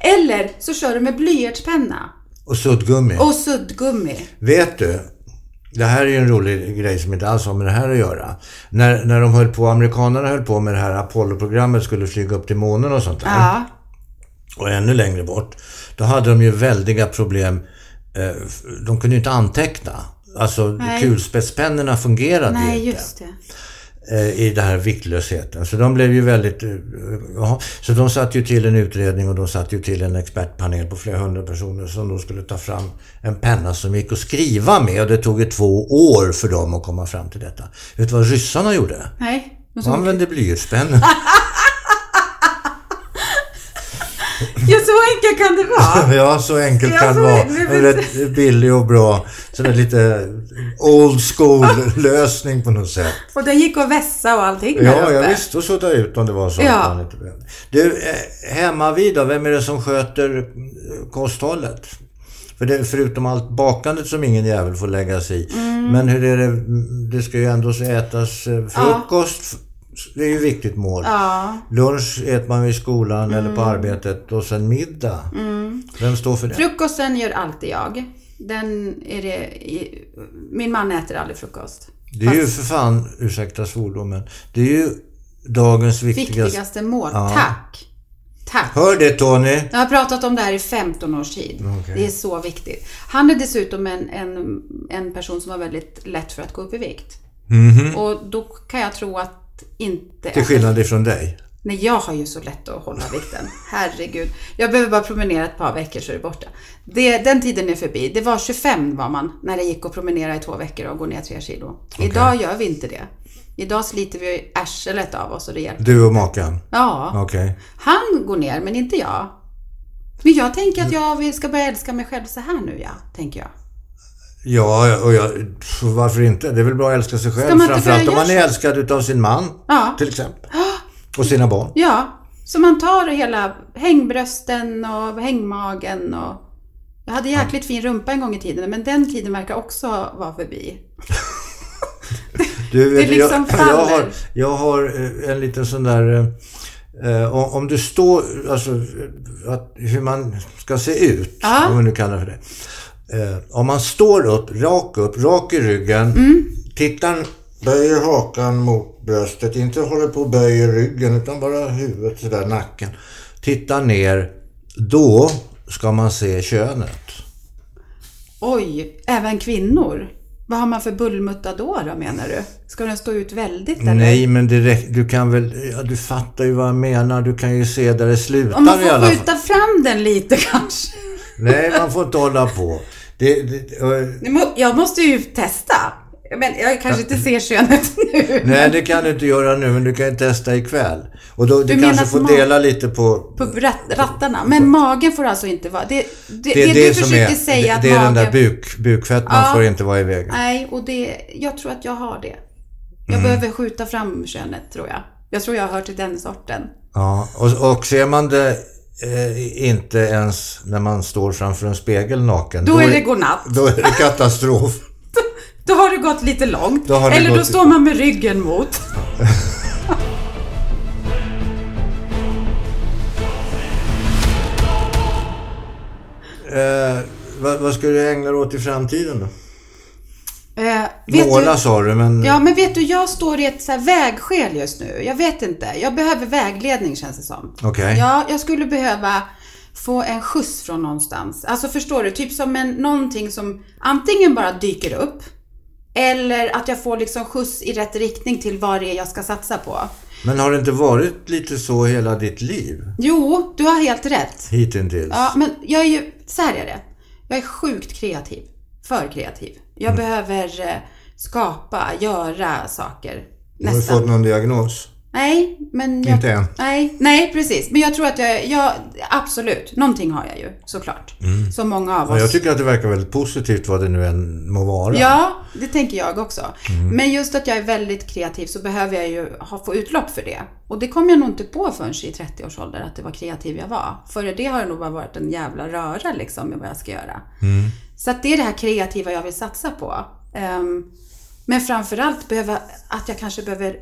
[SPEAKER 2] Eller så kör du med blyertspenna
[SPEAKER 1] Och suddgummi.
[SPEAKER 2] och suddgummi.
[SPEAKER 1] Vet du, det här är ju en rolig grej som inte alls har med det här att göra. När, när de höll på, amerikanerna höll på med det här Apollo-programmet, skulle flyga upp till månen och sånt där.
[SPEAKER 2] Ja,
[SPEAKER 1] och ännu längre bort, då hade de ju väldiga problem. Eh, De kunde ju inte anteckna. Alltså
[SPEAKER 2] Nej.
[SPEAKER 1] kulspetspennorna fungerade ju
[SPEAKER 2] Nej,
[SPEAKER 1] inte
[SPEAKER 2] just det.
[SPEAKER 1] eh, i den här viktlösheten. Så de blev ju väldigt... eh, ja. Så de satte ju till en utredning och de satte ju till en expertpanel på flera hundra personer som då skulle ta fram en penna som gick att skriva med. Och det tog ju två år för dem att komma fram till detta. Vet du vad ryssarna gjorde?
[SPEAKER 2] Nej. Och
[SPEAKER 1] De
[SPEAKER 2] så-
[SPEAKER 1] använde blyertspennor.
[SPEAKER 2] Ja, så enkelt kan det vara.
[SPEAKER 1] Ja, så enkelt
[SPEAKER 2] Ja,
[SPEAKER 1] kan det
[SPEAKER 2] så
[SPEAKER 1] vara.
[SPEAKER 2] det- det-
[SPEAKER 1] En Rätt billig och bra. Sådär lite old school-lösning på något sätt.
[SPEAKER 2] Och den gick att vässa och allting där
[SPEAKER 1] Ja,
[SPEAKER 2] uppe.
[SPEAKER 1] ja visst. Och sudda ut om det var så. att
[SPEAKER 2] Ja.
[SPEAKER 1] man inte behövde. Du, eh, hemma vid då, vem är det som sköter eh, kosthållet? För det, förutom allt bakandet som ingen jävel får lägga sig i.
[SPEAKER 2] Mm.
[SPEAKER 1] Men hur är det, det ska ju ändå ätas eh, frukost. Det är ju ett viktigt mål.
[SPEAKER 2] Ja. Mm.
[SPEAKER 1] Lunch äter man i skolan eller på arbetet och sen middag. Vem står för det?
[SPEAKER 2] Frukosten gör alltid jag. Den är det, i- min man äter aldrig frukost.
[SPEAKER 1] Det är ju för fan, ursäkta svordomen, det är ju dagens viktigaste...
[SPEAKER 2] Viktigaste mål. Tack! Tack!
[SPEAKER 1] Hör det Tony!
[SPEAKER 2] Jag har pratat om det här i 15 års tid.
[SPEAKER 1] Okej.
[SPEAKER 2] Det är så viktigt. Han är dessutom en, en, en person som har väldigt lätt för att gå upp i vikt. Och då kan jag tro att inte...
[SPEAKER 1] Mhm. Till skillnad ifrån dig.
[SPEAKER 2] Nej, jag har ju så lätt att hålla vikten. Herregud. Jag behöver bara promenera ett par veckor så är det borta. Det, den tiden är förbi. Det var 25 var man när det gick att promenera i två veckor och gå ner tre kilo. Idag gör vi inte det. Idag sliter vi arslet av oss och det hjälper.
[SPEAKER 1] Du och makan.
[SPEAKER 2] Ja.
[SPEAKER 1] Okej.
[SPEAKER 2] Han går ner, men inte jag. Men jag tänker att jag vill- ska börja älska mig själv så här nu, ja. Tänker jag.
[SPEAKER 1] Ja, och jag, pff, varför inte? Det är väl bra att älska sig själv.
[SPEAKER 2] man inte
[SPEAKER 1] Framförallt
[SPEAKER 2] börja
[SPEAKER 1] om man är
[SPEAKER 2] göra
[SPEAKER 1] älskad utav sin man,
[SPEAKER 2] Ja.
[SPEAKER 1] till exempel. Och sina barn.
[SPEAKER 2] Ja. Så man tar hela hängbrösten och hängmagen och... Jag hade jäkligt fin rumpa en gång i tiden, men den tiden verkar också vara förbi.
[SPEAKER 1] Du,
[SPEAKER 2] Det
[SPEAKER 1] vet du,
[SPEAKER 2] liksom
[SPEAKER 1] jag, jag,
[SPEAKER 2] faller.
[SPEAKER 1] har, jag har eh, en liten sån där... eh, eh, om- om du står... Alltså, eh, att, hur man ska se ut,
[SPEAKER 2] Ja.
[SPEAKER 1] om man nu kallar det för det. Eh, om man står upp, rak upp, rak i ryggen,
[SPEAKER 2] Mm.
[SPEAKER 1] tittar, böjer hakan mot bröstet, inte håller på och böjer ryggen utan bara huvudet sådär, nacken. Tittar ner, då ska man se könet.
[SPEAKER 2] Oj, även kvinnor. Vad har man för bullmutta då, då menar du? Ska den stå ut väldigt eller?
[SPEAKER 1] Nej, men det räck, du kan väl... Ja, du fattar ju vad jag menar. Du kan ju se där det slutar
[SPEAKER 2] Om man
[SPEAKER 1] i alla
[SPEAKER 2] får
[SPEAKER 1] fall.
[SPEAKER 2] skjuta fram den lite kanske.
[SPEAKER 1] Nej, man får inte hålla på. Det, det, eh,
[SPEAKER 2] Nu må- Jag måste ju testa. Men jag kanske inte ser könet nu.
[SPEAKER 1] nej, det kan du inte göra nu, men du kan ju testa ikväll. Och då, du,
[SPEAKER 2] Du menar
[SPEAKER 1] kanske får
[SPEAKER 2] att man-
[SPEAKER 1] dela lite på...
[SPEAKER 2] På rat, rattarna. Men magen får alltså inte vara... Det, det, det, du försöker säga
[SPEAKER 1] det,
[SPEAKER 2] att
[SPEAKER 1] det är den
[SPEAKER 2] magen...
[SPEAKER 1] där buk, bukfetman
[SPEAKER 2] Ja.
[SPEAKER 1] får inte vara i vägen.
[SPEAKER 2] Nej, och det... Jag tror att jag har det.
[SPEAKER 1] Mm.
[SPEAKER 2] Jag behöver skjuta fram könet, tror jag. Jag tror jag hör till den sorten.
[SPEAKER 1] Ja, och, och ser man det eh, inte ens när man står framför en spegel naken,
[SPEAKER 2] Då är det godnatt.
[SPEAKER 1] då är det katastrof.
[SPEAKER 2] Då har det gått lite långt.
[SPEAKER 1] Då har det
[SPEAKER 2] Eller då
[SPEAKER 1] gått-
[SPEAKER 2] står man med ryggen mot.
[SPEAKER 1] Eh, vad, vad ska du ägna dig åt i framtiden då?
[SPEAKER 2] Eh, vet
[SPEAKER 1] Måla
[SPEAKER 2] du...
[SPEAKER 1] sa du, men...
[SPEAKER 2] Ja, men vet du, jag står i ett så här vägskäl just nu. Jag vet inte. Jag behöver vägledning känns det som.
[SPEAKER 1] Okej.
[SPEAKER 2] Ja, jag skulle behöva få en skjuts från någonstans. Alltså förstår du? Typ som en, någonting som antingen bara dyker upp eller att jag får liksom skjuts i rätt riktning till vad det är jag ska satsa på.
[SPEAKER 1] Men har det inte varit lite så hela ditt liv?
[SPEAKER 2] Jo, du har helt rätt.
[SPEAKER 1] Hittills?
[SPEAKER 2] Ja, men jag är ju, så här är det. Jag är sjukt kreativ. För kreativ. Jag behöver eh, skapa, göra saker.
[SPEAKER 1] Har du
[SPEAKER 2] Nästan.
[SPEAKER 1] fått någon diagnos?
[SPEAKER 2] Nej, men... Jag,
[SPEAKER 1] Inte än.
[SPEAKER 2] Nej, nej, precis. Men jag tror att jag, jag... Absolut, någonting har jag ju såklart. Som många av
[SPEAKER 1] Mm. Ja,
[SPEAKER 2] oss.
[SPEAKER 1] jag tycker att det verkar väldigt positivt vad det nu än må vara.
[SPEAKER 2] Ja, det tänker jag också.
[SPEAKER 1] Mm.
[SPEAKER 2] Men just att jag är väldigt kreativ så behöver jag ju ha, få utlopp för det. Och det kom jag nog inte på förrän i 30-årsåldern att det var kreativ jag var. Före det har det nog bara varit en jävla röra liksom med vad jag ska göra.
[SPEAKER 1] Mm.
[SPEAKER 2] Så att det är det här kreativa jag vill satsa på. Ehm, men framförallt behöva, att jag kanske behöver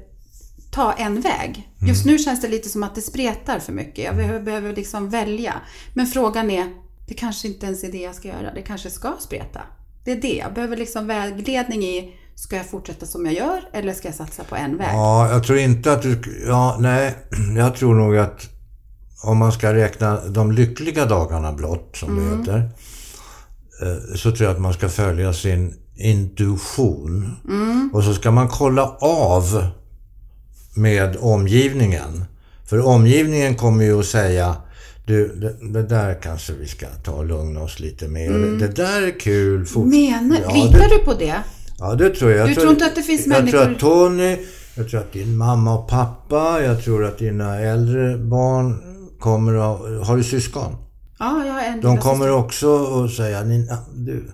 [SPEAKER 2] ta en väg. Just
[SPEAKER 1] Mm.
[SPEAKER 2] nu känns det lite som att det spretar för mycket. Jag behöver, behöver liksom välja. Men frågan är, det kanske inte ens är det jag ska göra. Det kanske ska spreta. Det är det. Jag behöver liksom vägledning i, ska jag fortsätta som jag gör eller ska jag satsa på en väg?
[SPEAKER 1] Ja, jag tror inte att du... Ja, nej. Jag tror nog att om man ska räkna de lyckliga dagarna blott, som det heter, eh, så tror jag att man ska följa sin intuition. Och så ska man kolla av med omgivningen. För omgivningen kommer ju att säga du, det, det där kanske vi ska ta och lugna oss lite mer. Det, det där är kul. Fort.
[SPEAKER 2] Menar,
[SPEAKER 1] Ja,
[SPEAKER 2] litar
[SPEAKER 1] det-
[SPEAKER 2] du på det?
[SPEAKER 1] Ja, det tror jag. jag
[SPEAKER 2] Du tror inte att det finns
[SPEAKER 1] jag
[SPEAKER 2] människor-
[SPEAKER 1] tror att Tony, jag tror att din mamma och pappa, jag tror att dina äldre barn kommer att... Har du syskon?
[SPEAKER 2] Ja, jag har en
[SPEAKER 1] De
[SPEAKER 2] lilla
[SPEAKER 1] kommer också att säga, Nina, du...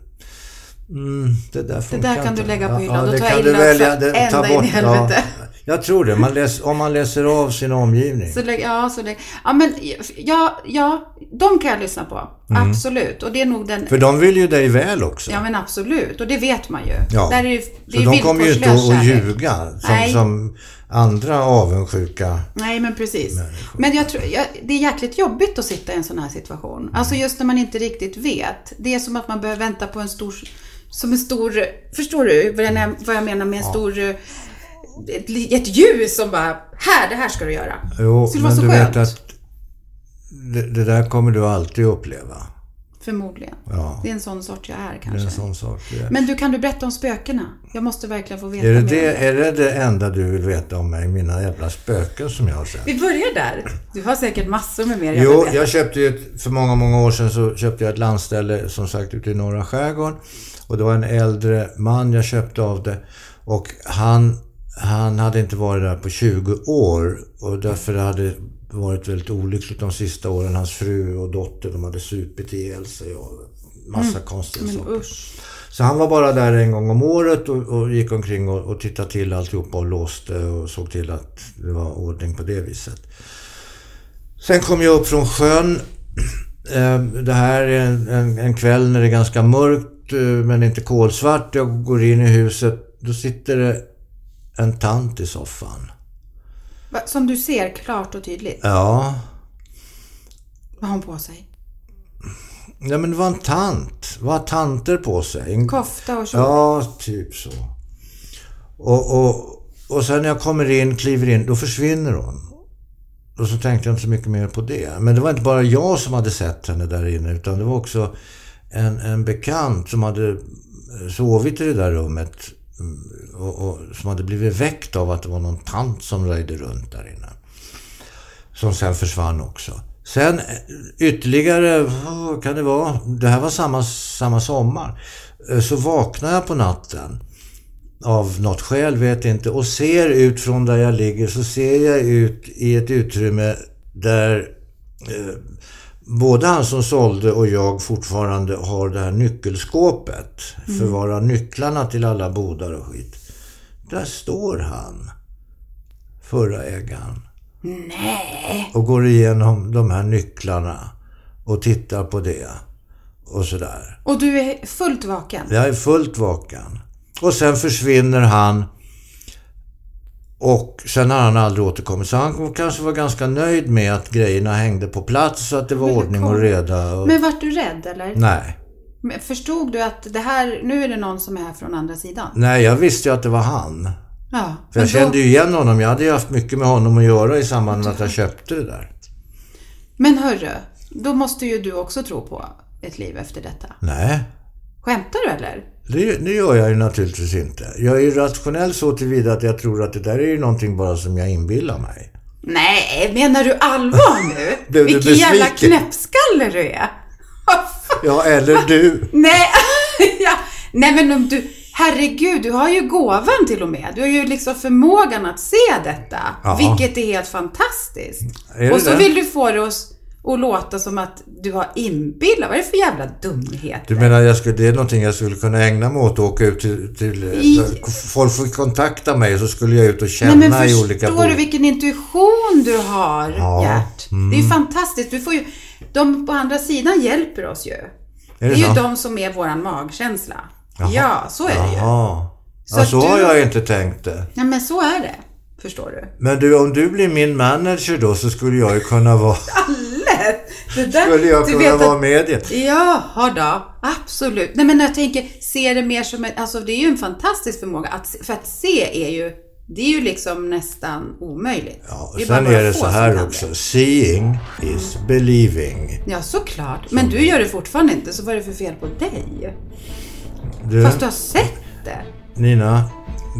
[SPEAKER 1] Mm, det där funkar
[SPEAKER 2] där kan
[SPEAKER 1] inte.
[SPEAKER 2] du lägga på hyllan.
[SPEAKER 1] Ja,
[SPEAKER 2] Då
[SPEAKER 1] det
[SPEAKER 2] tar jag
[SPEAKER 1] kan du
[SPEAKER 2] hyllan
[SPEAKER 1] välja.
[SPEAKER 2] för
[SPEAKER 1] Det, ta
[SPEAKER 2] ända in i
[SPEAKER 1] bort.
[SPEAKER 2] helvete.
[SPEAKER 1] Ja, jag tror det. Man läs, om man läser av sin omgivning.
[SPEAKER 2] Så lägg, ja, så lägg, ja, men ja, ja, de kan jag lyssna på. Absolut. Och det är nog den...
[SPEAKER 1] Mm. För de vill ju dig väl också.
[SPEAKER 2] Ja, men absolut. Och det vet man ju.
[SPEAKER 1] Ja.
[SPEAKER 2] Där är det, det
[SPEAKER 1] Så
[SPEAKER 2] är
[SPEAKER 1] de kommer ju inte
[SPEAKER 2] villkorslös
[SPEAKER 1] att
[SPEAKER 2] kärlek.
[SPEAKER 1] ljuga som,
[SPEAKER 2] Nej.
[SPEAKER 1] som andra avundsjuka.
[SPEAKER 2] Nej, men precis. Men jag tror, jag, det är jäkligt jobbigt att sitta i en sån här situation. Alltså just när man inte riktigt vet. Det är som att man behöver vänta på en stor... Som en stor... Förstår du vad jag, vad jag menar med en stor... eh, Ett, li- ett ljus som bara, här, det här ska du göra.
[SPEAKER 1] Jo,
[SPEAKER 2] Skulle vara
[SPEAKER 1] men
[SPEAKER 2] så
[SPEAKER 1] du
[SPEAKER 2] skönt.
[SPEAKER 1] vet att det, det där kommer du alltid uppleva.
[SPEAKER 2] Förmodligen.
[SPEAKER 1] Ja.
[SPEAKER 2] Det är en sån sort jag är
[SPEAKER 1] Det är
[SPEAKER 2] kanske.
[SPEAKER 1] en sån sak. det är.
[SPEAKER 2] Men du, kan du berätta om spökena? Jag måste verkligen få veta
[SPEAKER 1] Är det,
[SPEAKER 2] mer.
[SPEAKER 1] det, är det det enda du vill veta om mig? Mina jävla spöken som jag har sett?
[SPEAKER 2] Vi börjar där. Du har säkert massor med mer jag vill
[SPEAKER 1] Jo,
[SPEAKER 2] veta.
[SPEAKER 1] jag köpte ju ett, för många, många år sedan så köpte jag ett landställe som sagt ute i norra skärgården. Och det var en äldre man jag köpte av det. Och han, han hade inte varit där på 20 år. Och därför hade det varit väldigt olyckligt de sista åren. Hans fru och dotter, de hade supit ihjäl sig och massa konstiga saker.
[SPEAKER 2] Mm. Men usch.
[SPEAKER 1] Så han var bara där en gång om året och, och gick omkring och, och tittade till alltihopa och låste och såg till att det var ordning på det viset. Sen kom jag upp från sjön. Eh, Det här är en, en, en kväll när det är ganska mörkt eh, men inte kolsvart. Jag går in i huset. Då sitter det en tant i soffan.
[SPEAKER 2] Va- Som du ser klart och tydligt.
[SPEAKER 1] Ja,
[SPEAKER 2] Vad har hon på sig?
[SPEAKER 1] Nej, men det var en tant. Vad har tanter på sig? En
[SPEAKER 2] Kofta och kjol?
[SPEAKER 1] Ja, typ så. Och, och, och sen när jag kommer in, kliver in, då försvinner hon. Och så tänkte jag inte så mycket mer på det. Men det var inte bara jag som hade sett henne där inne, utan det var också en, en bekant som hade eh, sovit i det där rummet mm, och, och som hade blivit väckt av att det var någon tant som röjde runt där inne. Som sen försvann också. Sen eh, ytterligare, vad kan det vara? Det här var samma, samma sommar. Eh, Så vaknar jag på natten. Av något skäl, vet inte. Och ser ut från där jag ligger så ser jag ut i ett utrymme där eh, både han som sålde och jag fortfarande har det här nyckelskåpet. Förvara nycklarna till alla bodar och skit. Där står han. Förra ägaren och går igenom de här nycklarna och tittar på det och sådär.
[SPEAKER 2] Och du är fullt vaken?
[SPEAKER 1] Jag är fullt vaken. Och sen försvinner han och sen har han aldrig återkommit. Så han kanske var ganska nöjd med att grejerna hängde på plats så att det var
[SPEAKER 2] Men det
[SPEAKER 1] ordning och
[SPEAKER 2] kom-
[SPEAKER 1] reda. Och...
[SPEAKER 2] Men vart du rädd eller?
[SPEAKER 1] Nej.
[SPEAKER 2] Men Förstod du att det här, nu är det någon som är här från andra sidan?
[SPEAKER 1] Nej, jag visste ju att det var han.
[SPEAKER 2] Ja.
[SPEAKER 1] Mm. För
[SPEAKER 2] men
[SPEAKER 1] jag kände
[SPEAKER 2] då,
[SPEAKER 1] ju igen honom. Jag hade ju haft mycket med honom att göra i samband med att jag köpte det där.
[SPEAKER 2] men hörru, då måste ju du också tro på ett liv efter detta.
[SPEAKER 1] Nej.
[SPEAKER 2] Skämtar du eller?
[SPEAKER 1] Det, det gör jag ju naturligtvis inte. Jag är ju rationell så tillvida att jag tror att det där är ju någonting bara som jag inbillar mig.
[SPEAKER 2] Nej, menar du allvar nu?
[SPEAKER 1] Blev du
[SPEAKER 2] Vilken jävla
[SPEAKER 1] besviken?
[SPEAKER 2] knäppskalle du är!
[SPEAKER 1] Ja, eller du.
[SPEAKER 2] Nej, ja. Nej men om du, herregud, du har ju gåvan till och med. Du har ju liksom förmågan att se detta,
[SPEAKER 1] Ja.
[SPEAKER 2] vilket är helt fantastiskt.
[SPEAKER 1] Är det
[SPEAKER 2] och så
[SPEAKER 1] det?
[SPEAKER 2] vill du få det oss att låta som att du har inbillat Vad är det för jävla dumhet?
[SPEAKER 1] Du menar, jag skulle, det är någonting jag skulle kunna ägna mig åt och åka ut till... till eh,
[SPEAKER 2] I-
[SPEAKER 1] Folk får kontakta mig så skulle jag ut och
[SPEAKER 2] Nej
[SPEAKER 1] känna
[SPEAKER 2] men
[SPEAKER 1] i olika
[SPEAKER 2] förstår du
[SPEAKER 1] bo-
[SPEAKER 2] vilken intuition du har,
[SPEAKER 1] Ja. Mm.
[SPEAKER 2] Gert? Det är ju fantastiskt. Du får ju, de på andra sidan hjälper oss ju. Det
[SPEAKER 1] Är
[SPEAKER 2] är
[SPEAKER 1] det
[SPEAKER 2] ju
[SPEAKER 1] så?
[SPEAKER 2] de som är våran magkänsla. Ja, så är det ju.
[SPEAKER 1] Jaha.
[SPEAKER 2] Så
[SPEAKER 1] ja,
[SPEAKER 2] att
[SPEAKER 1] så
[SPEAKER 2] du-
[SPEAKER 1] har jag inte tänkt det.
[SPEAKER 2] Nej men så är det. Förstår du?
[SPEAKER 1] Men du, om du blir min manager då så skulle jag ju kunna vara...
[SPEAKER 2] lätt. Det där,
[SPEAKER 1] skulle jag
[SPEAKER 2] du
[SPEAKER 1] kunna
[SPEAKER 2] vet
[SPEAKER 1] vara
[SPEAKER 2] att,
[SPEAKER 1] med i.
[SPEAKER 2] Jaha då, absolut. Nej men jag tänker, se det mer som en, alltså det är ju en fantastisk förmåga. Att, se- för att se är ju Det är ju liksom nästan omöjligt.
[SPEAKER 1] Ja, och
[SPEAKER 2] det
[SPEAKER 1] sen
[SPEAKER 2] bara
[SPEAKER 1] är det
[SPEAKER 2] få
[SPEAKER 1] så
[SPEAKER 2] som kan
[SPEAKER 1] här
[SPEAKER 2] det.
[SPEAKER 1] också. Seeing is believing.
[SPEAKER 2] Ja, såklart. Men du gör det fortfarande inte, så vad är det för fel på dig?
[SPEAKER 1] Du,
[SPEAKER 2] Fast du har sett det.
[SPEAKER 1] Nina,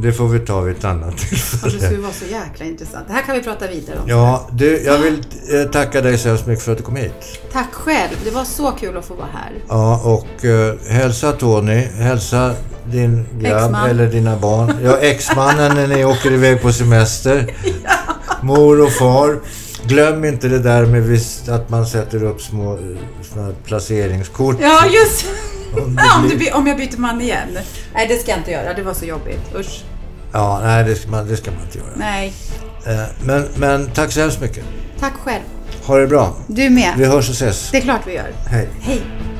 [SPEAKER 1] det får vi ta vid ett annat
[SPEAKER 2] Och Alltså, det skulle
[SPEAKER 1] tillfälle.
[SPEAKER 2] vara så jäkla intressant. Det här kan vi prata vidare om.
[SPEAKER 1] Ja, du, jag vill eh, tacka dig så hemskt mycket för att du kom hit.
[SPEAKER 2] Tack själv. Det var så kul att få vara här.
[SPEAKER 1] Ja, och eh, hälsa Tony, hälsa din grabb
[SPEAKER 2] Exman.
[SPEAKER 1] eller dina barn. Ja, exmannen när ni åker iväg på semester. Mor och far. Glöm inte det där med visst att man sätter upp små eh, såna här placeringskort.
[SPEAKER 2] Ja, just
[SPEAKER 1] Om
[SPEAKER 2] om,
[SPEAKER 1] det
[SPEAKER 2] om,
[SPEAKER 1] blir-
[SPEAKER 2] du, by- om jag byter man igen. Nej, det ska jag inte göra. Det var så jobbigt. Usch.
[SPEAKER 1] Ja, nej, det ska man, det ska man inte göra.
[SPEAKER 2] Nej.
[SPEAKER 1] Eh, Men, men tack så hemskt mycket.
[SPEAKER 2] Tack själv.
[SPEAKER 1] Ha det bra.
[SPEAKER 2] Du med.
[SPEAKER 1] Vi hörs och ses.
[SPEAKER 2] Det är klart vi gör.
[SPEAKER 1] Hej.
[SPEAKER 2] Hej.